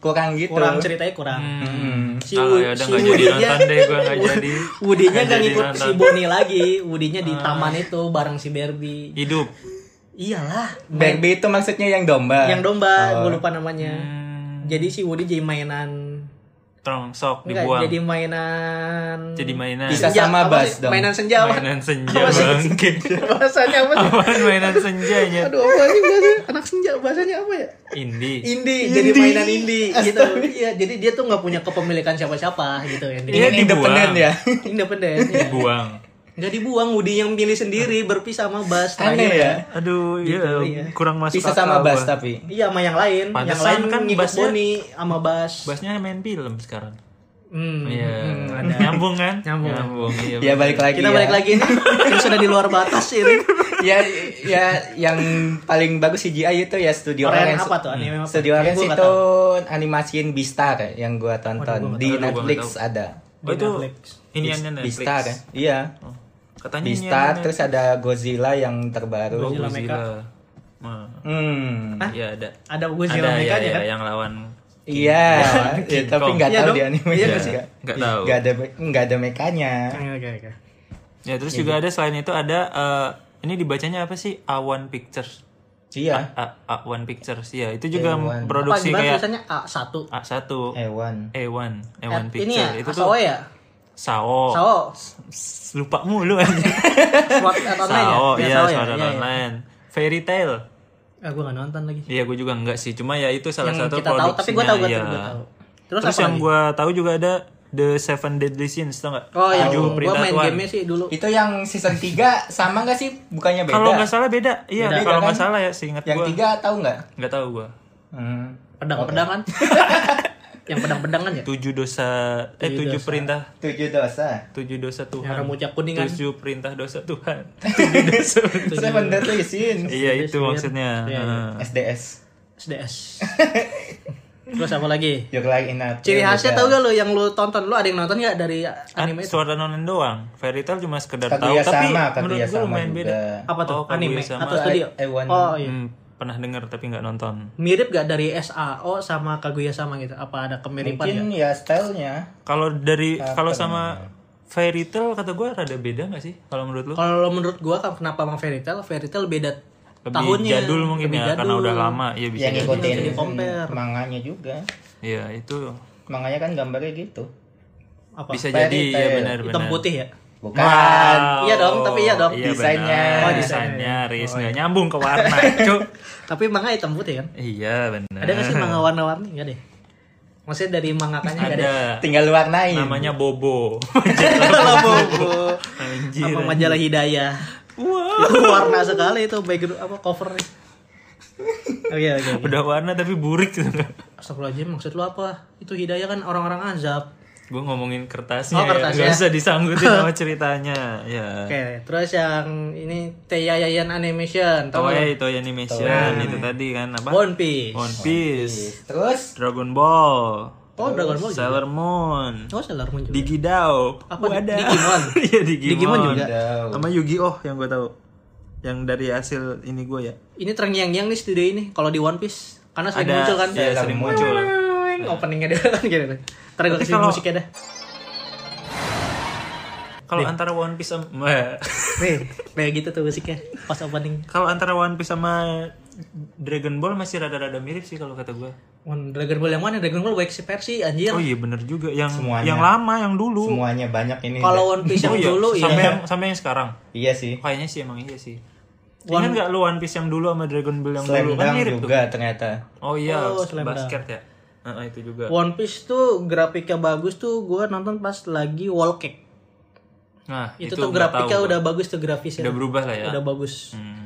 S3: kurang gitu.
S1: Kurang ceritanya kurang. Hmm. Si,
S2: Ah,
S1: Woody
S2: ya udah nggak jadi nonton deh, gua nggak jadi.
S1: Woody-nya
S2: Nggak
S1: gak
S2: jadi
S1: ngikut
S2: nonton. Ah.
S1: si Bonnie lagi. Woody-nya di taman itu bareng si Barbie.
S2: Hidup.
S1: Iyalah, main-
S3: Barbie itu maksudnya yang domba.
S1: yang domba, gue lupa namanya.
S2: Hmm,
S1: Jadi si Woody jadi mainan
S2: Trongsok
S1: enggak
S2: dibuang.
S1: jadi mainan
S2: Jadi mainan.
S3: Bisa
S1: Senja,
S3: sama
S1: apa
S3: Bas
S1: sih?
S3: dong.
S1: Mainan senja apa?
S2: mainan senja
S1: Apa sih?
S2: bangke.
S1: bahasanya apa sih?
S2: Apaan mainan senjanya?
S1: Aduh, apa sih bahasanya? Anak senja bahasanya apa ya?
S2: Indie.
S1: Indie, jadi mainan indie gitu. Iya, jadi dia tuh nggak punya kepemilikan siapa-siapa gitu yang
S2: Iya,
S3: Ini independen
S2: dibuang.
S3: ya.
S1: independen. ya.
S2: Buang.
S1: Nggak dibuang, Woody yang pilih
S2: Ah.
S1: sendiri berpisah sama Bas
S3: Aneh
S1: terakhir
S3: ya.
S2: Aduh, iya,
S1: iya.
S2: kurang masuk
S3: Bisa
S2: akal
S3: sama
S2: gua.
S3: Bas tapi.
S1: Iya sama yang lain, yang
S2: Pantesan
S1: lain kan
S2: kan
S1: ngikut
S2: Basnya-
S1: Bonnie sama Bas.
S2: Basnya main film sekarang.
S1: Hmm.
S2: Iya. Nyambung kan?
S1: Nyambung.
S2: Nyambung. Iya.
S3: Ya balik lagi.
S1: Kita
S3: ya.
S1: balik lagi nih, yang sudah di luar batas ini.
S3: ya ya yang paling bagus CGI itu ya Studio
S1: Korean
S3: Orange.
S1: apa tuh anime apa?
S3: Studio
S1: Yang
S3: Orange
S1: gua nggak
S3: itu
S1: tahu.
S3: animasiin Beastar yang gua tonton di
S2: Aduh, gua
S3: Netflix
S2: nggak
S3: ada.
S1: Di
S2: Oh, itu
S1: Netflix. kan?
S2: ini
S3: Beast-
S2: annya Netflix.
S3: Beastar. ya? Iya.
S2: Oh, Katanya ini
S3: Beastar
S2: annya
S3: terus ada Godzilla yang terbaru.
S2: Godzilla.
S1: Godzilla Mecha.
S2: Nah,
S3: Hmm.
S2: Iya ada.
S1: Ada Godzilla
S2: ada,
S1: Mecha
S2: ya,
S1: nya
S2: ya,
S1: kan?
S2: yang lawan
S3: Iya, ya,
S2: Kong.
S3: tapi nggak
S1: Iya
S3: tahu
S1: dong.
S3: di anime
S1: Iya,
S3: juga.
S1: nggak sih?
S2: Nggak tahu.
S3: Nggak ada nggak ada mekanya.
S1: Oke oke.
S2: Ya terus
S1: Iya,
S2: juga ada selain itu ada eh, ini dibacanya apa sih? A1 Pictures.
S3: Iya.
S2: A, A1 Pictures ya. Itu juga
S3: A1.
S1: Apa
S2: produksi
S1: gimana
S2: kayak
S1: tulisannya A1?
S2: A1,
S3: Hewan.
S2: A1,
S1: Eh,
S2: A1
S1: Ini
S2: Pictures.
S1: ya,
S2: itu tuh
S1: Sao ya?
S2: Sao.
S1: Sao.
S2: S- Lupa mulu aja.
S1: Sword Art Online ya?
S2: Sao, iya,
S1: ya?
S2: Sword Art
S1: Iya, iya.
S2: Online. Fairy Tail.
S1: Ah, gue gak nonton lagi.
S2: Iya, gue juga enggak sih. Cuma ya itu salah
S1: Yang
S2: satu
S1: kita tahu, tapi gue tahu, gue
S2: produksinya,
S1: tahu, gue
S2: iya.
S1: tahu. Terus,
S2: Terus,
S1: apa
S2: yang
S1: lagi?
S2: gue tahu juga ada The Seven Deadly Sins, tau nggak?
S1: Oh, yang
S2: Tujuh
S1: gue
S2: perintah
S1: main
S2: Tuhan.
S1: gamenya sih dulu.
S3: Itu yang season 3 sama nggak sih? Bukannya beda?
S2: Kalau nggak salah beda, iya.
S3: Beda,
S2: Kalau
S3: kan?
S2: nggak salah ya, seingat
S3: yang
S2: gue.
S3: tiga tahu nggak?
S2: Nggak tahu gue.
S3: Hmm.
S1: Pedang-pedang kan? yang pedang-pedang kan ya?
S2: Tujuh dosa, eh tujuh perintah,
S3: Tujuh dosa.
S2: tujuh dosa
S1: Yang
S2: Tuhan.
S1: rambutnya kuning kan?
S2: Tujuh perintah dosa Tuhan. Tujuh dosa.
S3: Seven Deadly Sins.
S2: Iya itu maksudnya.
S1: Iya, iya.
S2: Heeh.
S3: SDS.
S1: SDS. Terus apa lagi?
S3: Your Life in a
S1: Ciri
S2: Ya,
S1: khasnya
S3: Pill
S1: tau gak lo yang lo tonton? Lo ada yang nonton gak dari
S2: An-
S1: anime itu?
S2: Sword Art Online Kan doang. Fairy Tail cuma sekedar tahu,
S3: Kaguya
S2: tapi
S3: sama,
S2: menurut
S3: Kaguya
S2: gue
S3: sama
S2: lumayan
S3: juga.
S2: beda.
S1: Apa tuh?
S2: Oh, Kaguya
S1: anime
S2: sama.
S1: atau studio?
S3: I- I want-
S1: Oh iya.
S2: Hmm, pernah dengar tapi nggak nonton.
S1: Mirip gak dari SAO sama Kaguya sama gitu? Apa ada kemiripan
S3: Mungkin ya stylenya.
S2: Kalau dari kalau sama fairy tale kata gue rada beda nggak sih kalau menurut lu?
S1: ya? Kalau menurut gua kan kenapa Bang Fairy Tail? Fairy Tail beda
S2: Lebih
S1: tahunnya.
S2: jadul mungkin
S1: Lebih
S2: ya
S1: jadul.
S2: karena udah lama ya bisa.
S3: Yang
S2: jadi.
S3: ngikutin
S1: Jadi compare.
S3: manganya juga.
S2: Iya itu
S3: Manganya kan gambarnya gitu.
S1: Apa?
S2: bisa
S3: Fairy
S2: jadi ya
S3: Tail.
S2: benar-benar.
S1: hitam putih ya?
S3: Bukan.
S1: Iya dong, tapi iya dong.
S3: Desainnya.
S2: Oh,
S1: Oh,
S2: desainnya
S1: desainnya.
S2: Riz nggak nyambung ke warna, Cuk.
S1: Tapi manga hitam putih kan?
S2: Iya, benar.
S1: Ada gak sih manga warna-warni? Gak deh. Maksudnya dari mangakanya gak
S2: Ada.
S3: Tinggal warnain.
S2: Namanya Bobo.
S1: Majalah Bobo.
S2: Anjir.
S1: Apa majalah Hidayah.
S2: Wow.
S1: Itu warna sekali itu background apa covernya. Oke oke. oke.
S2: Udah warna tapi burik gitu.
S1: Astagfirullahaladzim maksud lu apa? Itu Hidayah kan orang-orang azab.
S2: Gue ngomongin kertasnya,
S1: Oh, kertasnya.
S2: ya. Gak usah disanggutin sama ceritanya. Ya.
S1: Oke, terus yang ini Teyayayan Animation, tau
S2: Toei,
S1: gak?
S2: Toei Animation itu tadi kan apa?
S1: One Piece.
S2: One Piece,
S3: Terus
S2: Dragon Ball,
S1: Oh, Dragon Ball. juga.
S2: Sailor Moon,
S1: Oh, Sailor Moon juga.
S2: Gitu. Digidao,
S1: Apa,
S2: Wadah.
S1: Digimon?
S2: Iya Digimon.
S1: Digimon juga.
S3: Digimon.
S2: Sama Yu-Gi-Oh yang gue tahu. Yang dari hasil ini gue ya.
S1: Ini terngiang-ngiang nih studio ini kalau di One Piece karena sering
S2: Ada
S1: muncul kan.
S2: iya, sering muncul. Iya.
S1: Weng, Openingnya dia kan gitu. Ntar gue
S2: Tapi
S1: kasih
S2: kalau-
S1: musiknya dah.
S2: Kalau antara One Piece sama
S1: Nih, kayak gitu tuh musiknya pas opening.
S2: kalau antara One Piece sama Dragon Ball masih rada-rada mirip sih kalau kata gue.
S1: One Dragon Ball yang mana? Dragon Ball baik si versi anjir.
S2: Oh iya bener juga yang
S3: Semuanya.
S2: yang lama yang dulu.
S3: semuanya banyak ini.
S1: Kalau One Piece yang
S2: Oh iya,
S1: dulu ya
S2: sampai yang sampai yang sekarang.
S3: Iya sih.
S2: Kayaknya sih emang iya sih. Ingat nggak lu One Piece yang dulu sama Dragon Ball yang dulu
S3: Slam
S2: kan
S3: Dunk
S2: mirip tuh.
S3: juga ternyata.
S2: Oh iya,
S1: Oh, Slam Dunk.
S2: basket ya. Heeh, itu juga.
S1: One Piece tuh grafiknya bagus tuh gue nonton pas lagi Wall Cake.
S2: Nah,
S1: Itu, tuh
S2: nggak
S1: grafiknya
S2: tahu.
S1: udah bagus tuh grafisnya.
S2: udah berubah lah ya.
S1: Iya. Udah bagus.
S2: Hmm.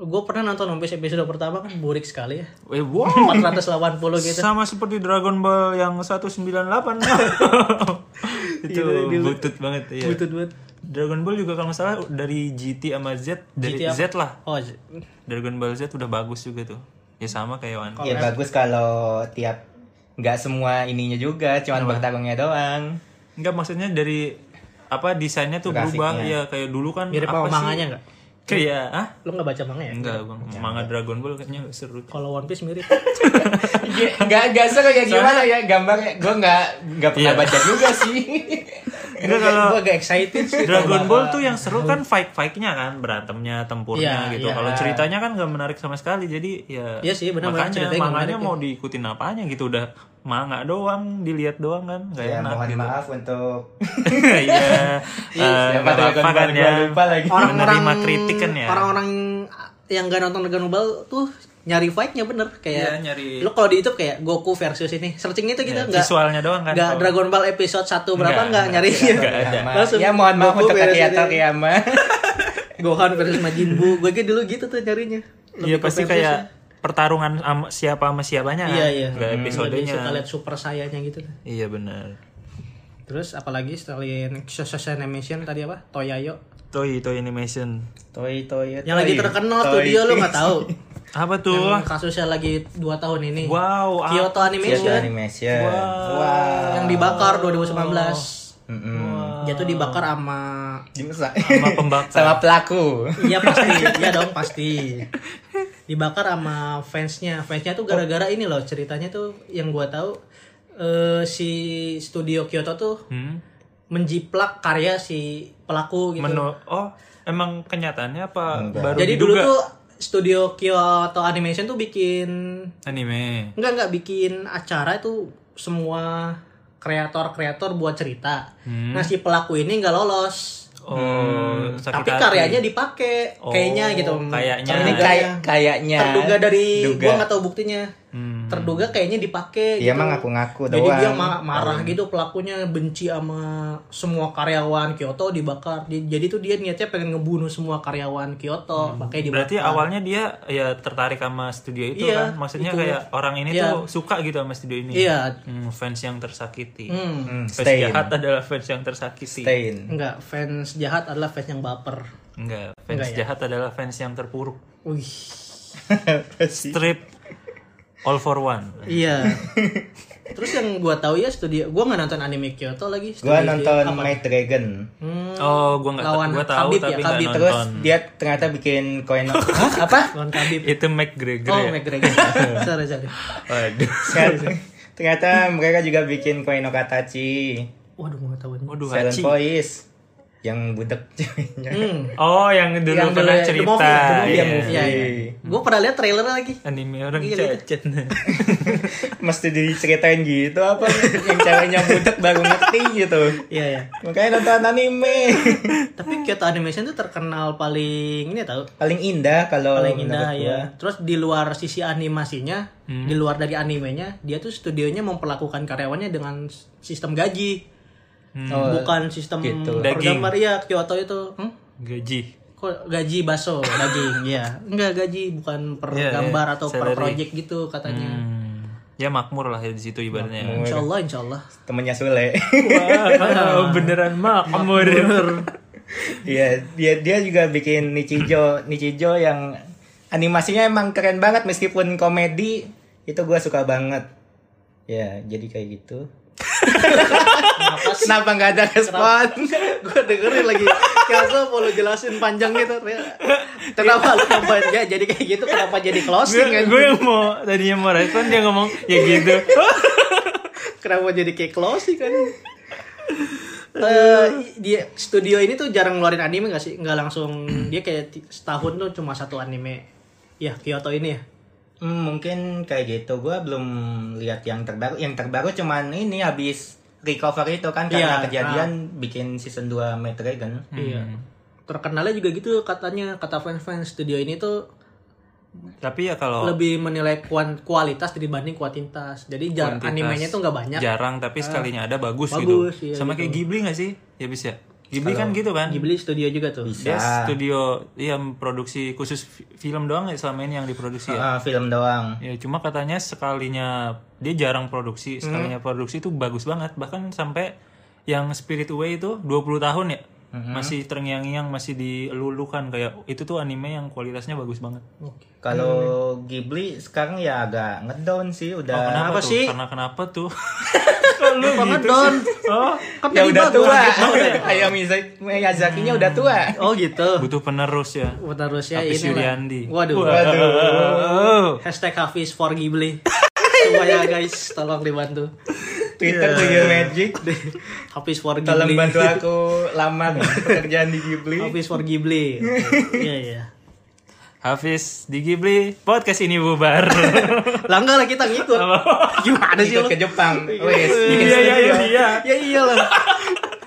S1: Gue pernah nonton One Piece episode pertama kan burik sekali ya.
S2: Eh, wow.
S1: 480 gitu.
S2: Sama seperti Dragon Ball yang 198. itu butut banget ya.
S1: Butut banget.
S2: Dragon Ball juga kalau nggak salah dari GT sama Z dari
S1: GT apa?
S2: Z lah.
S1: Oh, j-
S2: Dragon Ball Z udah bagus juga tuh. Ya sama kayak One Piece.
S3: Ya bagus kalau tiap nggak semua ininya juga, cuman bertarungnya doang.
S2: Enggak maksudnya dari apa desainnya tuh berubah ya kayak dulu kan
S1: mirip
S2: apa
S1: sama manganya enggak?
S2: sih? Kayak ah
S1: Lo enggak baca manga ya?
S2: enggak gua manga Dragon Ball kayaknya nggak seru.
S1: Kalau One Piece mirip.
S3: Nggak nggak seru ya gimana ya gambarnya? Gue nggak nggak pernah baca juga sih.
S2: Enggak kalau
S1: gue agak excited sih.
S2: Dragon Ball tuh yang seru kan fight-fightnya kan, berantemnya, tempurnya
S1: Iya,
S2: gitu.
S1: iya.
S2: Kalau ceritanya kan nggak menarik sama sekali, jadi ya.
S1: Iya sih, benar-benar
S2: makanya
S1: ceritanya nggak
S2: manganya
S1: menarik, iya.
S2: mau diikutin apanya gitu udah manga doang, dilihat doang kan, nggak
S3: ya
S2: enak
S3: mohon
S2: gitu.
S3: maaf untuk
S2: Iya. eh,
S3: siapa
S2: nggak
S3: Dragon
S2: apa-apa
S3: Ball
S2: kan
S3: gua
S2: ya.
S3: lupa lagi.
S2: Menerima kritik kan ya.
S1: Orang-orang yang gak nonton Dragon Ball tuh nyari fightnya bener
S2: Iya,
S1: kayak
S2: nyari.
S1: ya. lu kalau di YouTube kayak Goku versus ini searching itu kita nggak
S2: Ya, visualnya doang kan.
S1: nggak
S2: kalau-
S1: Dragon Ball episode 1 berapa
S2: Nggak,
S1: nggak nyari
S2: nggak ada.
S3: Sama-
S1: Langsung
S3: ya mohon maaf
S1: Goku
S3: untuk
S1: beres
S3: kreator
S1: ini.
S3: ya Ma.
S1: Gohan versus Majin Buu gue kayak dulu gitu tuh nyarinya
S2: Iya
S1: Lebih ke
S2: pasti
S1: versus
S2: kayak
S1: ya.
S2: pertarungan sama siapa sama siapanya kan.
S1: iya iya
S2: Nggak
S1: Lebih
S2: episodenya.
S1: suka lihat super sayanya gitu
S2: Iya benar.
S1: Terus apalagi selain Shoshosh Animation tadi apa? Toyayo.
S2: Toy Toy Animation.
S3: Toy toy.
S1: Yang lagi terkenal studio lu nggak tahu.
S2: Apa tuh?
S1: Yang kasusnya lagi 2 tahun ini.
S2: Wow. ah,
S1: Kyoto Animation.
S3: animation. Wow.
S1: Yang dibakar 2019. Jatuh dibakar sama
S3: Gimana?
S2: Sama pembakar.
S3: Sama pelaku.
S1: Iya pasti, iya dong pasti. Dibakar sama fansnya. Fansnya tuh gara-gara ini loh ceritanya tuh yang gua tahu eh, si studio Kyoto tuh
S2: Hmm?
S1: menjiplak karya si pelaku gitu.
S2: Menu oh emang kenyataannya apa baru
S1: Jadi dulu
S2: diduga?
S1: tuh studio Kyoto Animation tuh bikin
S2: anime.
S1: enggak enggak bikin acara itu semua kreator-kreator buat cerita.
S2: Hmm.
S1: Nah, si pelaku ini enggak lolos.
S2: Oh, sakit
S1: Hmm, tapi
S2: hati.
S1: karyanya dipakai
S2: Oh,
S1: kayaknya gitu.
S2: kayaknya.
S1: Ini
S3: Ini kayak kayaknya.
S1: ya. terduga dari
S3: Duga.
S1: gua nggak tahu buktinya
S2: Hmm.
S1: terduga kayaknya dipakai gitu.
S3: Dia Iya, mah ngaku-ngaku
S1: jadi
S3: doang.
S1: dia ma- marah gitu pelakunya benci sama semua karyawan Kyoto dibakar Di- jadi tuh dia niatnya pengen ngebunuh semua karyawan Kyoto pakai dibakar
S2: Berarti awalnya dia ya tertarik sama studio itu
S1: Ah. Iya,
S2: kan. Maksudnya
S1: itu.
S2: kayak orang ini
S1: Iya.
S2: tuh suka gitu sama studio ini.
S1: iya
S2: Hmm, fans yang tersakiti.
S1: hmm.
S3: Hmm,
S2: Fans
S3: stain.
S2: jahat adalah fans yang tersakiti.
S3: Stain.
S1: enggak fans jahat adalah fans yang baper
S2: Enggak, fans
S1: Enggak ya?
S2: jahat adalah fans yang terpuruk.
S1: wih
S2: Strip all for one.
S1: iya terus yang gua tahu ya studio gua nggak nonton anime Kyoto lagi studio
S3: Gua
S1: dia-
S3: nonton
S1: apa?
S3: Night Dragon.
S1: Hmm,
S2: Oh, gua enggak
S1: Lawan
S2: gua tahu
S1: Khabib ya,
S2: tapi enggak
S1: Khabib.
S2: nonton.
S3: Terus dia ternyata bikin koin Hah, apa?
S1: lawan Khabib
S2: Itu McGregor
S1: oh
S2: ya?
S1: McGregor sorry sorry
S2: Waduh.
S3: Ternyata- ternyata mereka juga bikin koin Okatachi.
S1: waduh gua nggak tahu ini.
S2: Waduh,
S3: Silent
S2: Hachi.
S3: Voice yang budek ceweknya.
S1: Hmm.
S2: Oh, yang dulu
S1: Yang
S2: pernah
S1: dulu- the
S2: cerita.
S1: movie, the movie,
S2: Iya.
S1: yang movie. Iya, iya. Gue pernah lihat trailer lagi.
S2: Anime orang
S1: Iya,
S2: cacat.
S3: Mesti diceritain gitu apa yang ceweknya budek baru ngerti gitu.
S1: Iya ya.
S3: Makanya nonton anime.
S1: Tapi Kyoto Animation tuh terkenal paling ini tahu
S3: Paling
S2: Oh,
S3: indah kalau
S1: paling
S3: menurut
S1: indah
S3: gua.
S1: ya. Terus di luar sisi animasinya,
S2: Hmm.
S1: di luar dari animenya, dia tuh studionya memperlakukan karyawannya dengan s- sistem gaji.
S3: Oh,
S1: Bukan sistem
S3: gitu.
S1: per
S2: Hmm. Daging.
S1: gambar ya Kyoto itu. Hmm?
S2: Gaji.
S1: Kok gaji baso daging ya. Enggak gaji bukan per
S2: Iya, iya.
S1: gambar atau per
S2: Salary.
S1: project gitu katanya.
S2: Hmm. Ya makmur lah ya di situ ibaratnya.
S1: Insya Allah, insya Allah.
S3: Temennya Sule.
S2: Wah, beneran makmur.
S3: Iya, dia dia juga bikin Nichijo, Nichijo yang animasinya emang keren banget meskipun komedi itu gue suka banget. Ya, jadi kayak gitu.
S1: Kenapa sih?
S3: Kenapa nggak ada respon?
S1: gue dengerin lagi Kayak mau lu jelasin panjang gitu Kenapa lu nambahin ya jadi kayak gitu Kenapa jadi closing kan
S2: Gue yang mau tadinya mau respon dia ngomong ya gitu.
S1: Kenapa jadi kayak closing kan Eh, dia studio ini tuh jarang ngeluarin anime gak sih? Nggak langsung dia kayak ti- setahun tuh cuma satu anime. Ya Kyoto ini ya.
S3: Hmm, mungkin kayak gitu. Gue belum lihat yang terbaru. Yang terbaru cuman ini habis recover itu kan karena
S1: Iya,
S3: kejadian bikin season 2 Mad Dragon.
S1: Iya. Terkenalnya juga gitu katanya kata fans-fans studio ini tuh
S2: Tapi ya kalau
S1: lebih menilai kuan- kualitas dibanding kuantitas. Jadi jar-
S2: Kuantitas.
S1: animenya tuh nggak banyak.
S2: jarang tapi sekalinya ada bagus,
S1: Bagus,
S2: gitu.
S1: iya,
S2: Sama kayak Ghibli gak sih? Ya bisa. Ghibli kan gitu kan?
S1: Ghibli studio juga tuh.
S2: Dia
S3: Ah.
S2: studio yang produksi khusus fi- film doang ya selama ini yang diproduksi ya.
S3: Ah, film doang.
S2: Ya cuma katanya sekalinya dia jarang produksi, sekalinya produksi itu bagus banget. Bahkan sampai yang Spirit Away itu 20 tahun ya. Masih terngiang-ngiang, masih dilulukan kayak itu tuh anime yang kualitasnya bagus banget.
S3: Kalau Ghibli sekarang ya agak ngedown sih udah
S2: Oh, Kenapa
S1: Apa
S2: tuh?
S1: sih?
S2: Karena kenapa tuh?
S1: Lu ngedon.
S2: Oh,
S1: Kan
S3: ya
S1: tadi
S3: udah
S1: bagus.
S3: tua. Ayam Miyazaki-nya udah tua.
S1: Oh gitu.
S2: butuh penerus ya.
S1: Oh, Terus ya
S2: Hafiz
S1: ini lah.
S2: Yuriandi.
S1: Waduh.
S2: Oh. Waduh.
S1: Hashtag Hafiz for Ghibli. Semuanya guys, tolong dibantu.
S3: Twitter
S2: Iya.
S3: do your magic.
S1: Hafiz for Ghibli.
S3: Tolong bantu aku lamar pekerjaan di Ghibli.
S1: Hafiz for Ghibli. Oke. Iya iya.
S2: Hafiz di Ghibli podcast ini bubar.
S1: Lah enggak lah kita ngikut. Gimana sih lu?
S3: Ikut ke Jepang. Oh, Wes, bikin
S2: Oh. Iya iya
S3: studio.
S2: iya, iya.
S1: Ya iyalah.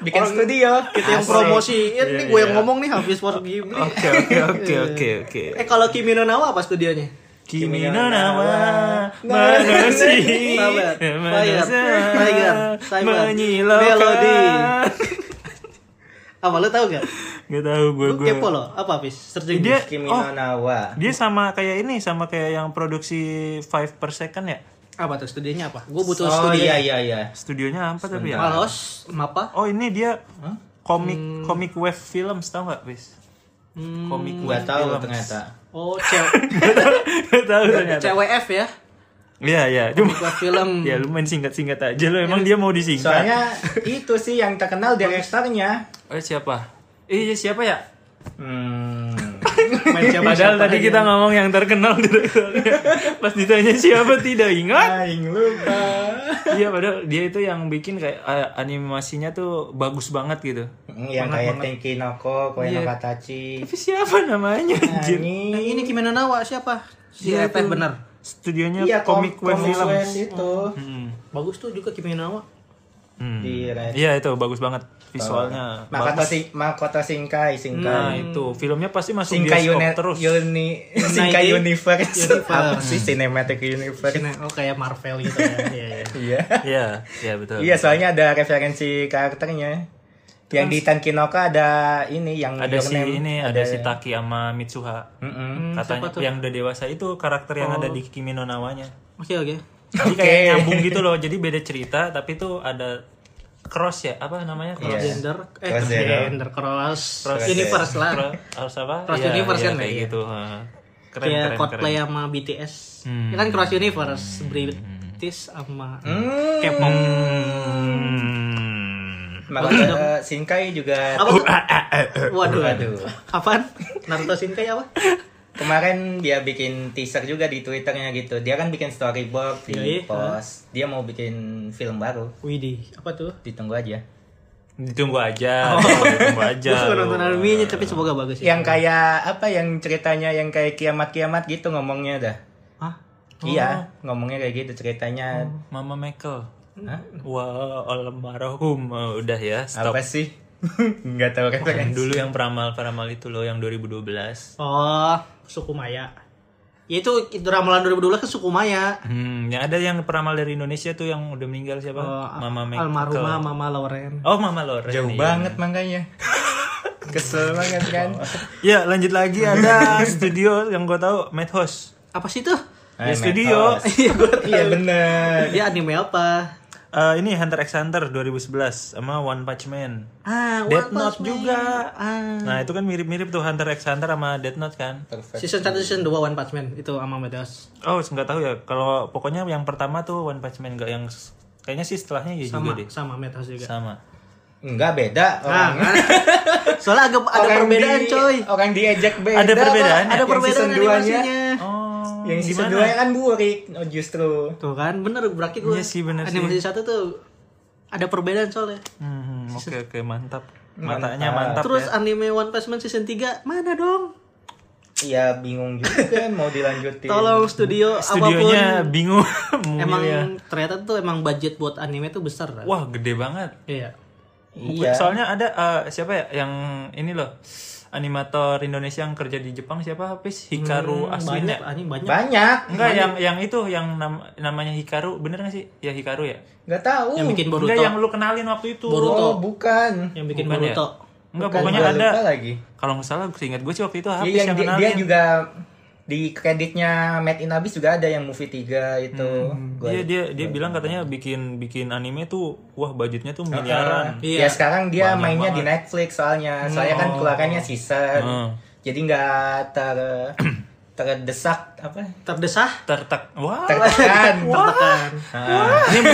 S3: Bikin studio.
S1: Kita yang
S3: Asik.
S2: Iya,
S1: promosiin nih gue yang ngomong nih Hafiz for Ghibli.
S2: Oke oke oke oke oke.
S1: Eh kalau Kimi no Na wa apa studionya?
S2: Kimi no na wa manusi
S1: Sabar. Fire.
S2: manusia
S1: Tiger. Cyber. Melody.
S2: menyilaukan
S1: Apa lu tahu gak?
S2: Gak tahu gue
S1: Lu
S2: gue.
S1: kepo lo. Apa Hafiz? Searching
S2: Dia
S3: Kimi
S2: oh
S3: no Nawa.
S2: dia sama kayak ini sama kayak yang produksi Five per second ya.
S1: Apa tuh studionya apa? Gue butuh
S3: oh
S1: studi
S3: iya iya iya.
S2: Studionya apa tapi ya?
S1: Malos, Mapa.
S2: Oh ini dia komik komik wave films tau nggak bis? Komik
S3: Gua
S2: iya,
S3: tahu ternyata.
S1: Hmm. Oh, cewek
S2: tahu ternyata.
S1: CWF ya.
S2: Iya iya cuma
S1: Buat film.
S2: ya lu main singkat singkat aja lu emang dia mau disingkat.
S3: Soalnya itu sih yang terkenal direkturnya.
S2: Oh siapa? Eh iya, siapa ya?
S3: Hmm.
S1: Main siapa
S2: Padahal tadi kita ngomong yang terkenal direkturnya. Pas ditanya siapa tidak ingat.
S3: Aing lupa.
S2: Iya padahal dia itu yang bikin kayak eh, animasinya tuh bagus banget gitu.
S3: Hmm, Yang kayak Tenki Noko, Koe no
S2: Iya.
S3: Katachi. Nah,
S2: Tapi siapa namanya anjir?
S1: Yang
S3: Anjing.
S1: Eh, ini Kimeno Nawa siapa? Si
S2: Iya,
S1: Reteh
S2: itu.
S1: bener.
S2: Studionya
S3: Iya,
S2: Comic Wave Films.
S3: itu.
S2: Hmm.
S1: Bagus tuh juga Kimeno Nawa.
S2: Hmm.
S3: Di Red.
S2: Iya itu bagus banget visualnya.
S3: Makoto,
S2: bagus.
S3: Sing- Makoto Shinkai, Shinkai.
S2: Nah itu filmnya pasti masuk
S3: Shinkai
S2: bioskop
S3: Uni-
S2: terus.
S3: Uni Shinkai
S1: United
S3: Universe.
S1: Universe.
S3: Apa sih Cinematic Universe?
S1: Kena- Oh kayak Marvel gitu ya. Iya, iya.
S3: Iya.
S2: Iya iya betul.
S3: Iya, soalnya ada referensi karakternya. Yang di Tankinoko ada ini yang
S2: Ada
S3: Your
S2: si
S3: Name.
S2: ini Hmm. ada si Taki sama Mitsuha.
S3: Mm-mm.
S2: Katanya yang udah dewasa itu karakter yang ada di Kimi no Nawanya.
S1: Oke
S2: Iya.
S1: oke.
S2: Jadi
S3: Oke.
S2: kayak nyambung gitu loh. Jadi beda cerita tapi tuh ada cross ya apa namanya cross.
S3: Iya.
S1: Gender eh
S3: Cross
S1: gender cross,
S2: Cross
S1: universe lah.
S2: Cro- harus apa?
S1: Cross
S2: Iya,
S1: universe
S2: iya,
S1: kan
S2: kayak
S1: ya?
S2: gitu. Heeh. Keren,
S1: Kayak
S2: keren, keren.
S1: Coldplay sama BTS.
S2: Hmm.
S1: Ya kan cross universe, British sama
S3: Hmm.
S1: K-pop.
S2: Hmm.
S3: Makoto Shinkai juga
S1: Apa tuh? Waduh.
S3: Waduh.
S1: Apaan? Naruto Shinkai apa?
S3: Kemarin dia bikin teaser juga di Twitternya gitu. Dia kan bikin storyboard di
S2: Iya,
S1: Yoi,
S3: post. Dia mau bikin film baru.
S1: Widih, apa tuh?
S3: Ditunggu aja.
S2: Ditunggu aja, ditunggu aja.
S1: Gue suka Oh.
S2: lu.
S1: nonton animenya tapi semoga bagus ya.
S3: Yang kayak apa yang ceritanya yang kayak kiamat-kiamat gitu ngomongnya dah.
S1: Hah?
S3: Iya, ngomongnya kayak gitu ceritanya.
S2: Mama Michael.
S3: Hah?
S2: Wah, almarhum. Oh, udah ya, stop.
S3: Apa sih? Nggak tahu kan.
S2: Yang
S3: referensi.
S2: dulu yang peramal-peramal itu loh yang 2012.
S1: Oh, suku Maya. Ya itu ramalan 2012 ke suku Maya.
S2: Hmm, yang ada yang peramal dari Indonesia tuh yang udah meninggal siapa?
S1: Oh,
S2: Mama Michael.
S1: Almarhumah Mama Loren.
S2: Oh, Mama Lore.
S3: Jauh banget makanya. Kesel banget kan.
S2: Ya, lanjut lagi ada studio yang gue tahu Madhouse.
S1: Apa sih tuh?
S2: Ya,
S3: Eh,
S2: studio.
S3: Madhouse. Iya bener.
S1: Dia anime apa?
S2: Eh, ini Hunter x Hunter 2011 sama One Punch Man.
S1: Ah, One Punch
S2: Death Note
S1: Man.
S2: juga.
S1: Ah.
S2: Nah, itu kan mirip-mirip tuh Hunter x Hunter sama Death Note kan?
S3: Perfect.
S1: Season 1 season 2 One Punch Man itu sama Medas.
S2: Oh, nggak tahu ya. Kalau pokoknya yang pertama tuh One Punch Man nggak yang kayaknya sih setelahnya ya
S1: Sama
S2: juga deh.
S1: sama Medas juga.
S2: Sama.
S3: Enggak beda.
S1: Nah,
S3: Orang,
S1: kan? soalnya agak ada
S3: orang
S1: perbedaan
S3: di-
S1: coy.
S2: Oh,
S3: Orang diejek beda.
S2: Ada perbedaan
S3: Pak.
S2: ya?
S1: Ada
S3: Yang
S1: perbedaan
S3: season 2-nya.
S1: animasinya.
S2: Oh,
S3: Yang season
S2: gimana?
S3: 2 nya kan burik oh, justru.
S1: Tuh kan, bener berarti gue
S2: Iya sih, bener sih.
S1: animasi satu tuh ada perbedaan soalnya.
S2: Hmm, oke oke mantap. Matanya mantap.
S1: Terus
S2: ya.
S1: anime One Punch Man season 3 mana dong?
S3: Iya bingung juga mau dilanjutin.
S1: Tolong studio
S2: Iya. studionya
S1: apapun.
S2: bingung.
S1: Emang
S2: Memilih.
S1: ternyata tuh emang budget buat anime tuh besar kan?
S2: wah gede banget.
S1: Iya.
S3: Iya.
S2: Soalnya ada eh, siapa ya yang ini loh animator Indonesia yang kerja di Jepang siapa? Habis Hikaru
S1: Hmm,
S2: Aswin
S1: Banyak
S2: ya?
S1: anjing banyak.
S3: Hmm, Banyak.
S2: Enggak ya. yang yang itu yang nam- namanya Hikaru bener gak sih? Ya Hikaru ya.
S3: Enggak tahu.
S1: Yang bikin Boruto.
S2: Enggak yang lu kenalin waktu itu.
S3: Oh, bukan.
S1: Yang bikin
S2: Bukan ya?
S1: Boruto.
S2: Enggak
S3: Bukan,
S2: pokoknya
S3: gua
S2: ada.
S3: lupa lagi.
S2: Kalau nggak salah seingat gue sih waktu itu
S3: Iya,
S2: habis
S3: yang
S2: yang
S3: di- dia
S2: kenalin.
S3: juga di kreditnya Made in Abyss juga ada yang movie 3 itu. Gua-
S2: Iya dia dia bilang katanya bikin bikin anime tuh wah budgetnya tuh miliaran.
S1: Iya.
S3: Ya sekarang dia mainnya di Netflix soalnya. Soalnya kan keluarannya season.
S2: Hmm.
S3: Jadi nggak ter terdesak apa? ya?
S1: Terdesah.
S2: Tertek wah.
S3: Tertekan.
S1: Tertekan. Ini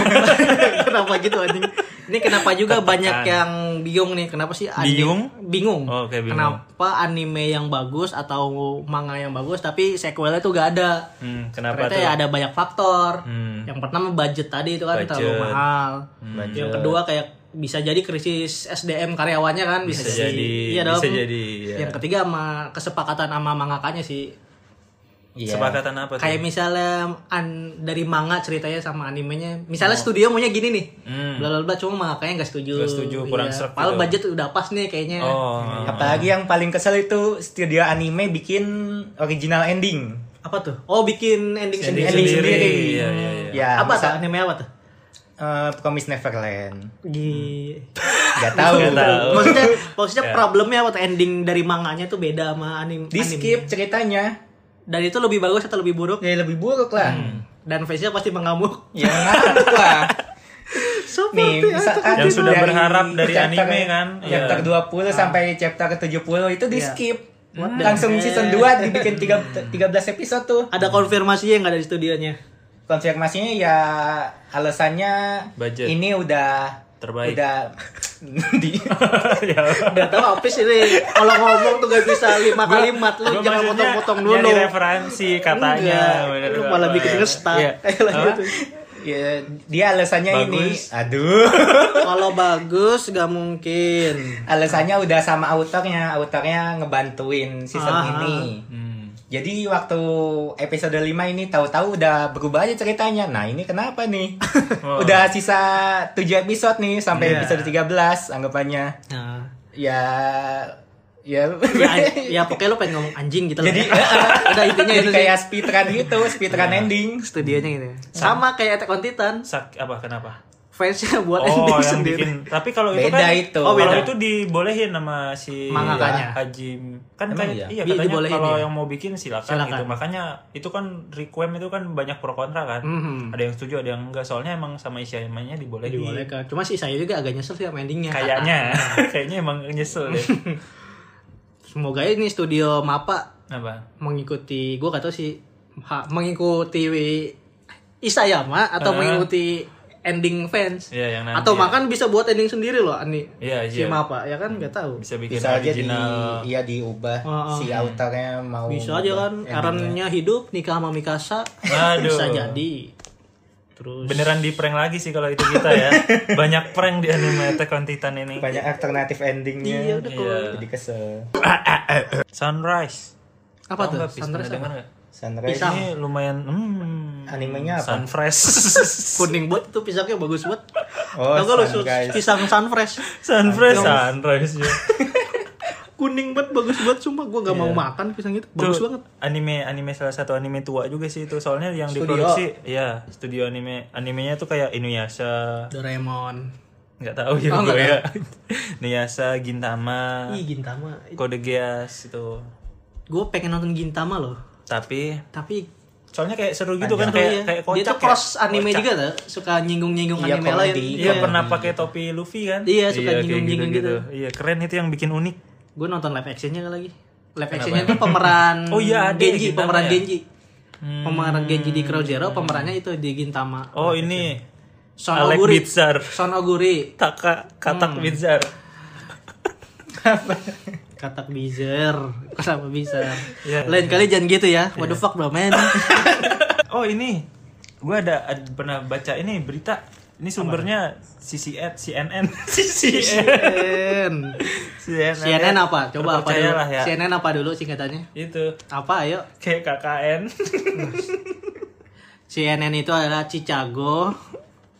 S1: kenapa gitu anjing? Ini kenapa juga banyak yang bingung nih? Kenapa sih anime
S2: Bingung?
S1: Bingung.
S2: Oh, oke, bingung.
S1: Kenapa anime yang bagus atau manga yang bagus tapi sequelnya tuh gak ada?
S2: Hmm, kenapa
S1: Ternyata
S2: tuh?
S1: ya ada banyak faktor.
S2: Hmm.
S1: Yang pertama budget tadi itu kan
S2: Budget. Hmm.
S1: terlalu mahal.
S3: Budget.
S1: Yang kedua kayak bisa jadi krisis SDM karyawannya kan bisa,
S2: Bisa jadi,
S1: Iya dong.
S2: bisa jadi, ya.
S1: Yang ketiga sama kesepakatan sama mangakanya sih.
S3: Iya.
S2: Sepakatan apa tuh?
S1: Kayak misalnya an, dari manga ceritanya sama animenya, misalnya studio maunya gini nih.
S2: Hmm.
S1: Bla bla bla cuma mangakanya nggak setuju. Iya.
S2: Nggak setuju, kurang serap
S1: Padahal
S2: gitu.
S1: budget udah pas nih kayaknya.
S2: Oh.
S1: Iya.
S3: Apalagi yang paling kesel itu studio anime bikin original ending.
S1: Apa tuh? Oh, bikin ending, sendiri.
S2: Ending
S3: sendiri.
S2: Iya, iya, iya.
S3: Ya,
S1: apa tuh
S3: misal-
S1: anime apa tuh?
S3: eh, Promise Neverland.
S1: Gi-
S3: Gak tahu.
S2: Nggak tahu. Ya.
S1: maksudnya maksudnya problemnya apa tuh? ending dari manganya tuh beda sama anim anime.
S3: Di skip ceritanya.
S1: Dan itu lebih bagus atau lebih buruk?
S2: Hmm.
S3: Ya lebih buruk lah.
S1: dan face-nya pasti mengamuk.
S3: Ya ngantuk lah.
S1: Seperti
S3: Nih, misalkan
S2: Yang sudah
S3: dari
S2: berharap dari
S3: chapter-
S2: anime kan?
S3: Chapter
S2: Iya.
S3: 20 sampai chapter 70 itu di skip.
S1: Iya. What the
S3: Langsung
S1: heck?
S3: season 2 dibikin tiga- 13 episode tuh.
S1: ada konfirmasinya nggak dari studionya?
S3: Konfirmasinya ya alasannya
S2: Budget.
S3: ini udah
S2: Terbaik.
S3: Udah di
S2: ya.
S1: Udah tahu habis ini. Kalau ngomong tuh gak bisa lima kalimat lu
S2: Gua
S1: jangan
S2: maksudnya
S1: potong-potong
S2: nyari
S1: dulu.
S2: referensi
S1: Enggak,
S2: katanya. bener
S1: lu
S2: nggak
S1: malah
S2: apa
S1: bikin
S2: ya.
S1: ngestak.
S2: Iya.
S1: Ayo lanjut.
S3: ya, dia alasannya
S2: Bagus.
S3: ini. Aduh.
S1: Kalau bagus gak mungkin.
S3: alasannya udah sama autornya autornya ngebantuin season
S1: Ah.
S3: ini
S2: Hmm.
S3: jadi waktu episode 5 ini tahu-tahu udah berubah aja ceritanya nah ini kenapa nih
S2: Wow.
S3: udah sisa 7 episode nih sampai
S2: Iya.
S3: episode 13 anggapannya
S1: Nah,
S3: ya ya,
S1: ya, ya pokoknya lu pengen ngomong anjing gitu
S3: jadi
S1: loh. ya. Udah intinya
S3: jadi
S1: itu
S3: kayak speedrun gitu speedrun ending
S1: sih. studionya gitu. ya. Sama kayak Attack on Titan,
S2: Sak apa kenapa?
S1: fansnya buat
S2: Oh,
S1: ending
S2: yang
S1: sendiri.
S2: bikin. Tapi kalau itu
S3: Beda
S2: kan
S3: itu.
S2: Oh,
S1: beda.
S2: kalau itu dibolehin sama si
S1: Mangakanya.
S2: Haji. Kan
S3: Emang
S2: kayak-
S3: iya?
S1: Iya,
S2: iya, katanya
S1: dibolehin,
S2: kalau
S1: iya.
S2: yang mau bikin silakan,
S1: Silakan.
S2: gitu. Makanya itu kan requiem itu kan banyak pro kontra kan.
S1: Mhm.
S2: Ada yang setuju, ada yang enggak. Soalnya emang sama isi animenya dibolehin.
S1: Dibolehkan. Cuma sih saya juga agak nyesel sih sama endingnya.
S2: Kayaknya, kayaknya emang nyesel deh.
S1: Semoga ini studio Mapa
S2: Apa?
S1: mengikuti gue gak tau sih ha- mengikuti Isayama atau
S2: Eh.
S1: mengikuti ending fans
S2: Iya, yang nanti.
S1: atau makan bisa buat ending sendiri loh ani
S2: Iya,
S1: si
S2: iya.
S1: Mapa ya kan nggak tahu
S2: Bisa bikin
S3: bisa aja di
S2: original.
S3: iya diubah
S1: Oh, oh.
S3: si autornya mau
S1: bisa aja kan Aaronnya hidup nikah sama Mikasa
S2: Aduh.
S1: bisa jadi terus
S2: Beneran di prank lagi sih kalau itu kita ya. banyak prank di anime Attack on Titan ini.
S3: banyak gitu. alternatif endingnya
S1: Iya, udah kalau-
S2: Iya.
S3: jadi kesel
S2: Sunrise.
S1: apa
S2: Tau
S1: tuh
S2: nggak, Pis? Pernah
S1: sunrise apa?
S2: dengar nggak?
S3: Sunrise
S1: Pisang.
S2: Ini lumayan hmm,
S3: Animenya apa?
S2: Sunfresh.
S1: kuning buat itu pisangnya bagus banget
S3: Oh,
S1: Tau nggak lu,
S3: sunrise.
S1: pisang sunfresh
S2: Sunfresh, Sunfresh. ya.
S1: kuning banget bagus banget sumpah gue gak
S3: Iya.
S1: mau makan pisang itu bagus
S2: Itu
S1: banget
S2: Anime anime salah satu anime tua juga sih itu. Soalnya yang diproduksi ya studio anime animenya tuh kayak Inuyasha,
S1: Doraemon
S2: nggak tahu ya
S1: Oh, nggak
S2: gue ya. Inuyasha, Gintama,
S1: ih Gintama
S2: Code Geass itu.
S1: gue pengen nonton Gintama loh
S2: Tapi
S1: tapi
S2: soalnya kayak seru gitu
S1: Iya.
S2: kan kayak kayak kocak.
S1: dia tuh
S2: ya.
S1: cross anime
S2: Kocak.
S1: juga tuh suka nyinggung nyinggung
S3: Iya,
S1: anime
S3: komedi.
S1: lain
S2: Iya pernah pakai topi Luffy kan?
S1: Iya, suka gitu.
S2: kayak
S1: nyinggung-nyinggung
S2: gitu-gitu. Iya, keren itu yang bikin unik.
S1: gue nonton live actionnya lagi live actionnya tuh pemeran
S2: Oh iya, ada ya
S1: Genji
S2: Gintama
S1: pemeran
S2: ya?
S1: Genji pemeran Genji
S3: Hmm.
S1: di Crow Zero pemerannya itu di Gintama
S2: Oh, ini
S1: Son
S2: Alec
S1: Oguri
S2: Bitzar.
S1: Son Oguri
S2: Taka Katak Bizar.
S1: katak bizer kenapa bisa
S2: Iya,
S1: lain kali jangan gitu ya what the fuck bro man
S2: Oh ini, gue ada, ada pernah baca ini berita. Ini sumbernya CCN, CNN, CCN,
S1: CNN
S2: CNN,
S1: CNN apa coba apa dulu
S2: Percayalah ya.
S1: CNN apa dulu singkatannya
S2: Itu
S1: apa ayo
S2: kayak KKN.
S1: CNN itu adalah Chicago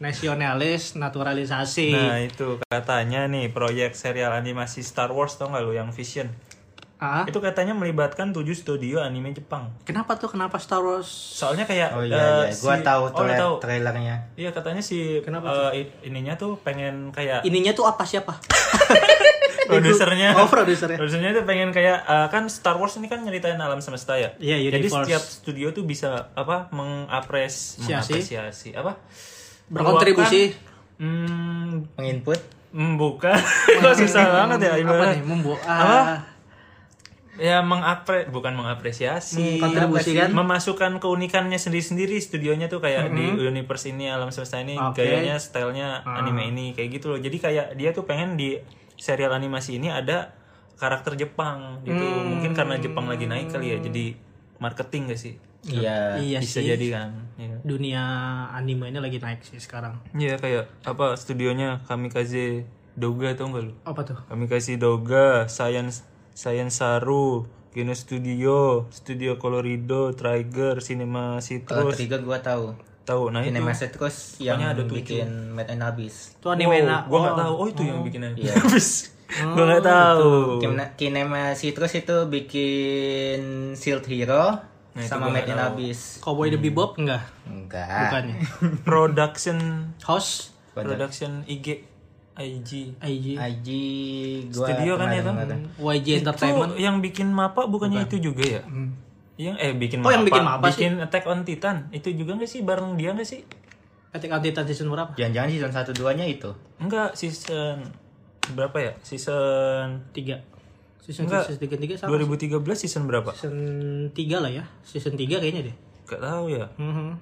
S1: nasionalis naturalisasi.
S2: Nah itu katanya nih proyek serial animasi Star Wars tau nggak lu yang Vision.
S1: Ah,
S2: Itu katanya melibatkan 7 studio anime Jepang.
S1: kenapa tuh kenapa Star Wars?
S2: Soalnya kayak
S3: oh
S2: eh,
S3: iya iya gua
S2: si-
S3: tahu
S2: oh, lu
S3: tra-
S2: tahu.
S3: trailernya
S2: Iya katanya si eh, i- ininya tuh pengen kayak
S1: Ininya tuh apa siapa?
S2: produsernya
S1: Oh, produsernya.
S2: Harusnya itu pengen kayak eh, kan Star Wars ini kan nyeritain alam semesta ya.
S1: Iya,
S2: Jadi
S1: universe.
S2: setiap studio tuh bisa apa mengapres
S1: Siasi.
S2: mengapresiasi apa?
S1: Berkontribusi.
S2: Meluapkan, Hmm,
S3: menginput
S2: hmm, bukan. Kok susah banget ya
S1: apa
S2: ibarat.
S1: nih membuat
S2: Ya mengapre bukan mengapresiasi,
S1: Mengkontribusi, kan?
S2: memasukkan keunikannya sendiri-sendiri studionya tuh kayak di universe ini alam semesta ini
S1: Hmm. Oke. Ah.
S2: gayanya, stylenya anime ini kayak gitu loh. Jadi kayak dia tuh pengen di serial animasi ini ada karakter Jepang gitu.
S1: Hmm.
S2: Mungkin karena Jepang lagi naik kali ya. Jadi marketing gak sih?
S3: iya
S1: iya
S2: Bisa
S1: sih.
S2: jadi kan. Iya.
S1: Dunia anime ini lagi naik sih sekarang.
S2: Iya, kayak apa studionya Kamikaze Doga tau gak lu?
S1: Apa tuh?
S2: Kami kasih Doga, Science Science Saru, Kino Studio, Studio Colorido, Trigger, Cinema
S3: kalau
S2: Citrus.
S3: tiga gua tahu
S2: Tahu nah itu.
S3: Cinema Citrus yang
S2: Pokoknya ada tujuh.
S3: bikin Mad and Abyss
S1: Itu anime
S2: Wow,
S1: na-
S2: gua nggak
S1: oh.
S2: tahu. Oh, itu yang bikin
S3: Iya.
S2: habis. gua nggak tahu.
S3: Kinema- Kinema Citrus itu bikin Shield Hero
S2: Nah, itu
S3: sama
S2: gua
S3: Mad
S2: nggak
S3: and
S2: tahu.
S3: Abyss
S1: Cowboy the Bebop enggak?
S2: Ah.
S3: enggak
S1: Bukannya.
S2: Production
S1: Host
S2: Production IG IG.
S1: IG
S3: IG gua
S2: Studio kan
S3: kemarin
S2: itu?
S3: nonton.
S1: YG Entertainment Hmm.
S2: Itu yang bikin mapa bukannya itu juga ya? Iya, eh bikin
S1: Oh, yang bikin Mappa sih.
S2: bikin Attack on Titan. Itu juga nggak sih bareng dia nggak sih?
S1: Attack on Titan season berapa?
S3: Jangan-jangan season 1 2 nya itu.
S2: Enggak, season berapa ya? Season
S1: Tiga. Season
S2: Enggak.
S1: season tiga tiga sama.
S2: 2013 season berapa?
S1: Season tiga lah ya. Season tiga kayaknya deh.
S2: Gak tahu ya.
S1: Mhm.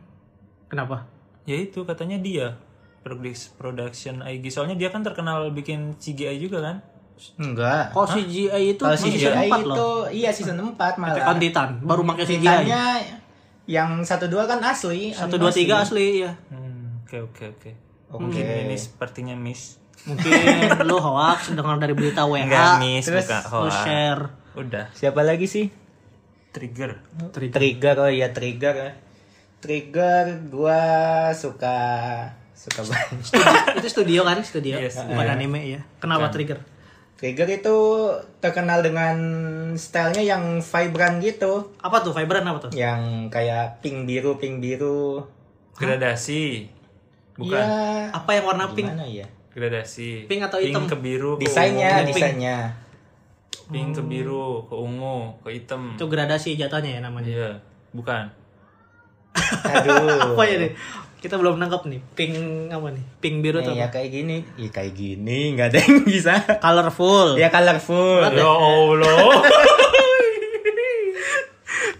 S1: Kenapa?
S2: Ya itu katanya dia Produx- production IG. Soalnya dia kan terkenal bikin CGI juga kan?
S3: Enggak.
S1: Kok CGI itu
S3: Kalau
S1: masih
S3: season
S1: season empat
S3: 4
S1: loh.
S3: itu iya season 4
S1: Attack on
S2: kan
S3: malah.
S1: Titan baru pakai CGI.
S3: Titannya yang 1 2 kan asli.
S1: Satu dua tiga asli ya.
S2: Hmm, oke oke oke.
S3: Oke.
S2: Mungkin Hmm, ini sepertinya miss.
S1: Mungkin lu hoax dengar dari berita WA,
S2: Enggak miss,
S3: terus
S2: bukan
S1: lu
S2: hoax.
S1: share
S2: Udah,
S3: Siapa lagi sih?
S2: trigger.
S1: trigger.
S3: Trigger oh iya trigger. Trigger gua suka suka banget.
S1: itu studio kan studio
S2: Yes, iya. Kan.
S1: bukan anime ya kenapa trigger
S3: Trigger itu terkenal dengan stylenya yang vibran gitu,
S1: apa tuh vibran apa
S2: Iya.
S1: tuh
S3: yang kayak pink biru pink biru.
S2: Gradasi. Bukan
S3: Iya.
S1: apa yang warna pink Oh,
S3: Gimana ya?
S2: gradasi.
S1: Pink atau hitam?
S2: Pink ke biru, ke
S3: Desainnya,
S2: ungu.
S3: desainnya.
S2: Pink ke biru, ke ungu, ke hitam.
S1: itu gradasi jatuhnya ya namanya
S2: Iya, bukan.
S3: Aduh.
S1: apa ya nih kita belum nangkap nih pink apa nih pink biru tuh
S3: Ya, ya
S1: apa?
S3: kayak gini, ya kayak gini nggak ada yang bisa.
S1: colorful
S3: Ya colorful.
S2: Ya Allah.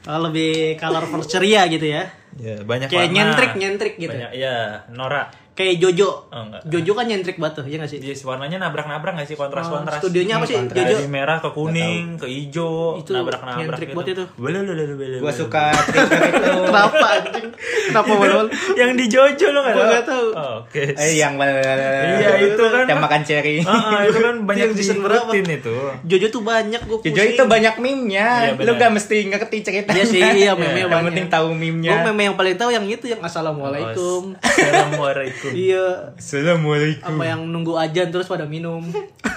S1: Oh, lebih colorful ceria gitu ya
S2: ya, banyak
S1: kayak
S2: warna.
S1: nyentrik nyentrik gitu
S2: Banyak, ya, Nora.
S1: kayak Jojo
S2: Oh, enggak.
S1: Jojo kan nyentrik batu ya nggak sih
S3: Oh.
S2: Yes, Iya warnanya nabrak-nabrak gak sih kontras-kontras?
S1: Oh, studionya apa sih
S3: Kontras.
S1: Jojo
S2: Dari merah ke kuning, ke hijau,
S1: Itu
S2: nabrak-nabrak
S1: nyentrik
S2: gitu.
S1: buat itu.
S2: Boleh, boleh, boleh, boleh,
S3: Gua
S2: boleh.
S3: suka trigger itu.
S1: kenapa anjing? kenapa belum
S2: Yang di Jojo lo gak
S1: Gua
S2: tau?
S1: nggak tahu.
S2: Oh, Oke.
S3: Eh yang
S2: Iya, itu kan.
S3: Yang makan cherry.
S2: Ah, ah, itu kan banyak
S1: Yang season berapa?
S2: diikutin itu.
S1: Jojo tuh banyak gue
S3: Jojo Ya, itu banyak meme-nya.
S2: Iya, benar.
S3: Lu gak mesti ngerti ceritanya.
S1: Iya sih, iya, meme-nya
S3: Yang
S1: banyak.
S3: penting tahu meme-nya.
S1: gue memang yang paling tahu yang itu yang assalamualaikum
S2: Oh, Assalamualaikum.
S1: iya
S3: Assalamualaikum.
S1: apa yang nunggu ajan terus pada minum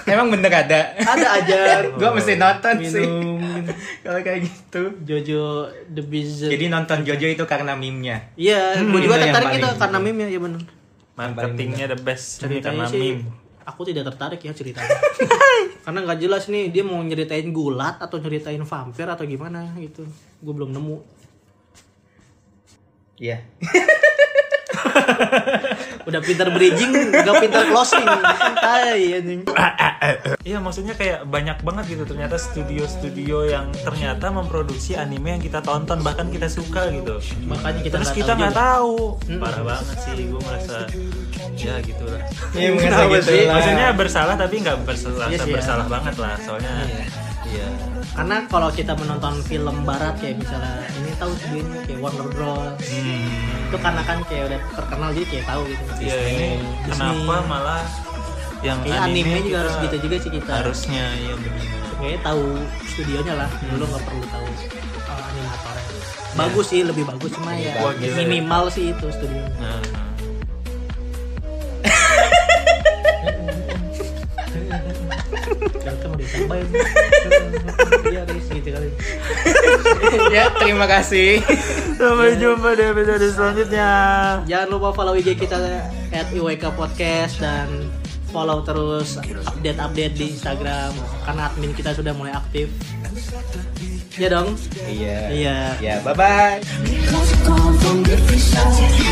S3: Emang bener ada.
S1: ada ajan
S3: Gua mesti nonton sih.
S1: Oh, minum
S3: Kalau kayak gitu.
S1: Jojo the Bizarre
S3: Jadi nonton Jojo itu karena meme-nya.
S1: iya gue
S3: Hmm,
S1: juga
S3: itu yang
S1: tertarik
S3: paling
S1: itu
S3: itu.
S1: karena meme ya ya benar
S2: Marketingnya the best ini
S1: ceritanya
S2: Iya, karena
S1: sih
S2: meme.
S1: aku tidak tertarik ya ceritanya karena nggak jelas nih dia mau nyeritain gulat atau nyeritain vampir atau gimana gitu gue belum nemu
S3: Iya.
S1: udah pintar bridging nggak pintar closing santai anjing
S2: Iya maksudnya kayak banyak banget gitu ternyata studio-studio yang ternyata memproduksi anime yang kita tonton bahkan kita suka gitu.
S1: makanya kita
S2: Terus
S1: nggak
S2: kita
S1: tahu
S2: nggak
S1: juga.
S2: tahu. Parah banget sih gue merasa ya gitu lah.
S3: Iya, merasa
S1: Kenapa
S3: gitu
S1: sih?
S3: lah.
S2: Maksudnya bersalah tapi nggak bersalah
S1: Iya sih, ya.
S2: bersalah banget lah soalnya. Iya.
S1: karena kalau kita menonton film barat kayak misalnya ini tahu sebelumnya kayak Warner Bros itu karena kan kayak udah terkenal jadi kayak tahu gitu
S2: Hmm. Iya ini kenapa malah yang
S1: Kayaknya
S2: anime,
S1: anime juga
S2: kita
S1: harus gitu juga sih kita
S2: harusnya ya benar.
S1: kayaknya tahu studionya lah dulu nggak perlu tahu uh, Hmm. animatornya bagus sih lebih bagus cuma ya
S2: Wah, gila ya.
S1: minimal sih itu studionya
S2: Nah, nah.
S1: dan kan udah ditambahin iya Riz gitu kali
S3: ya, terima kasih.
S2: Sampai jumpa di episode selanjutnya.
S1: jangan lupa follow IG kita at IWK Podcast dan follow terus update-update di Instagram karena admin kita sudah mulai aktif ya dong
S3: Iya.
S1: Iya.
S2: Iya.
S3: Ya, bye-bye.
S4: Because we come from different sides.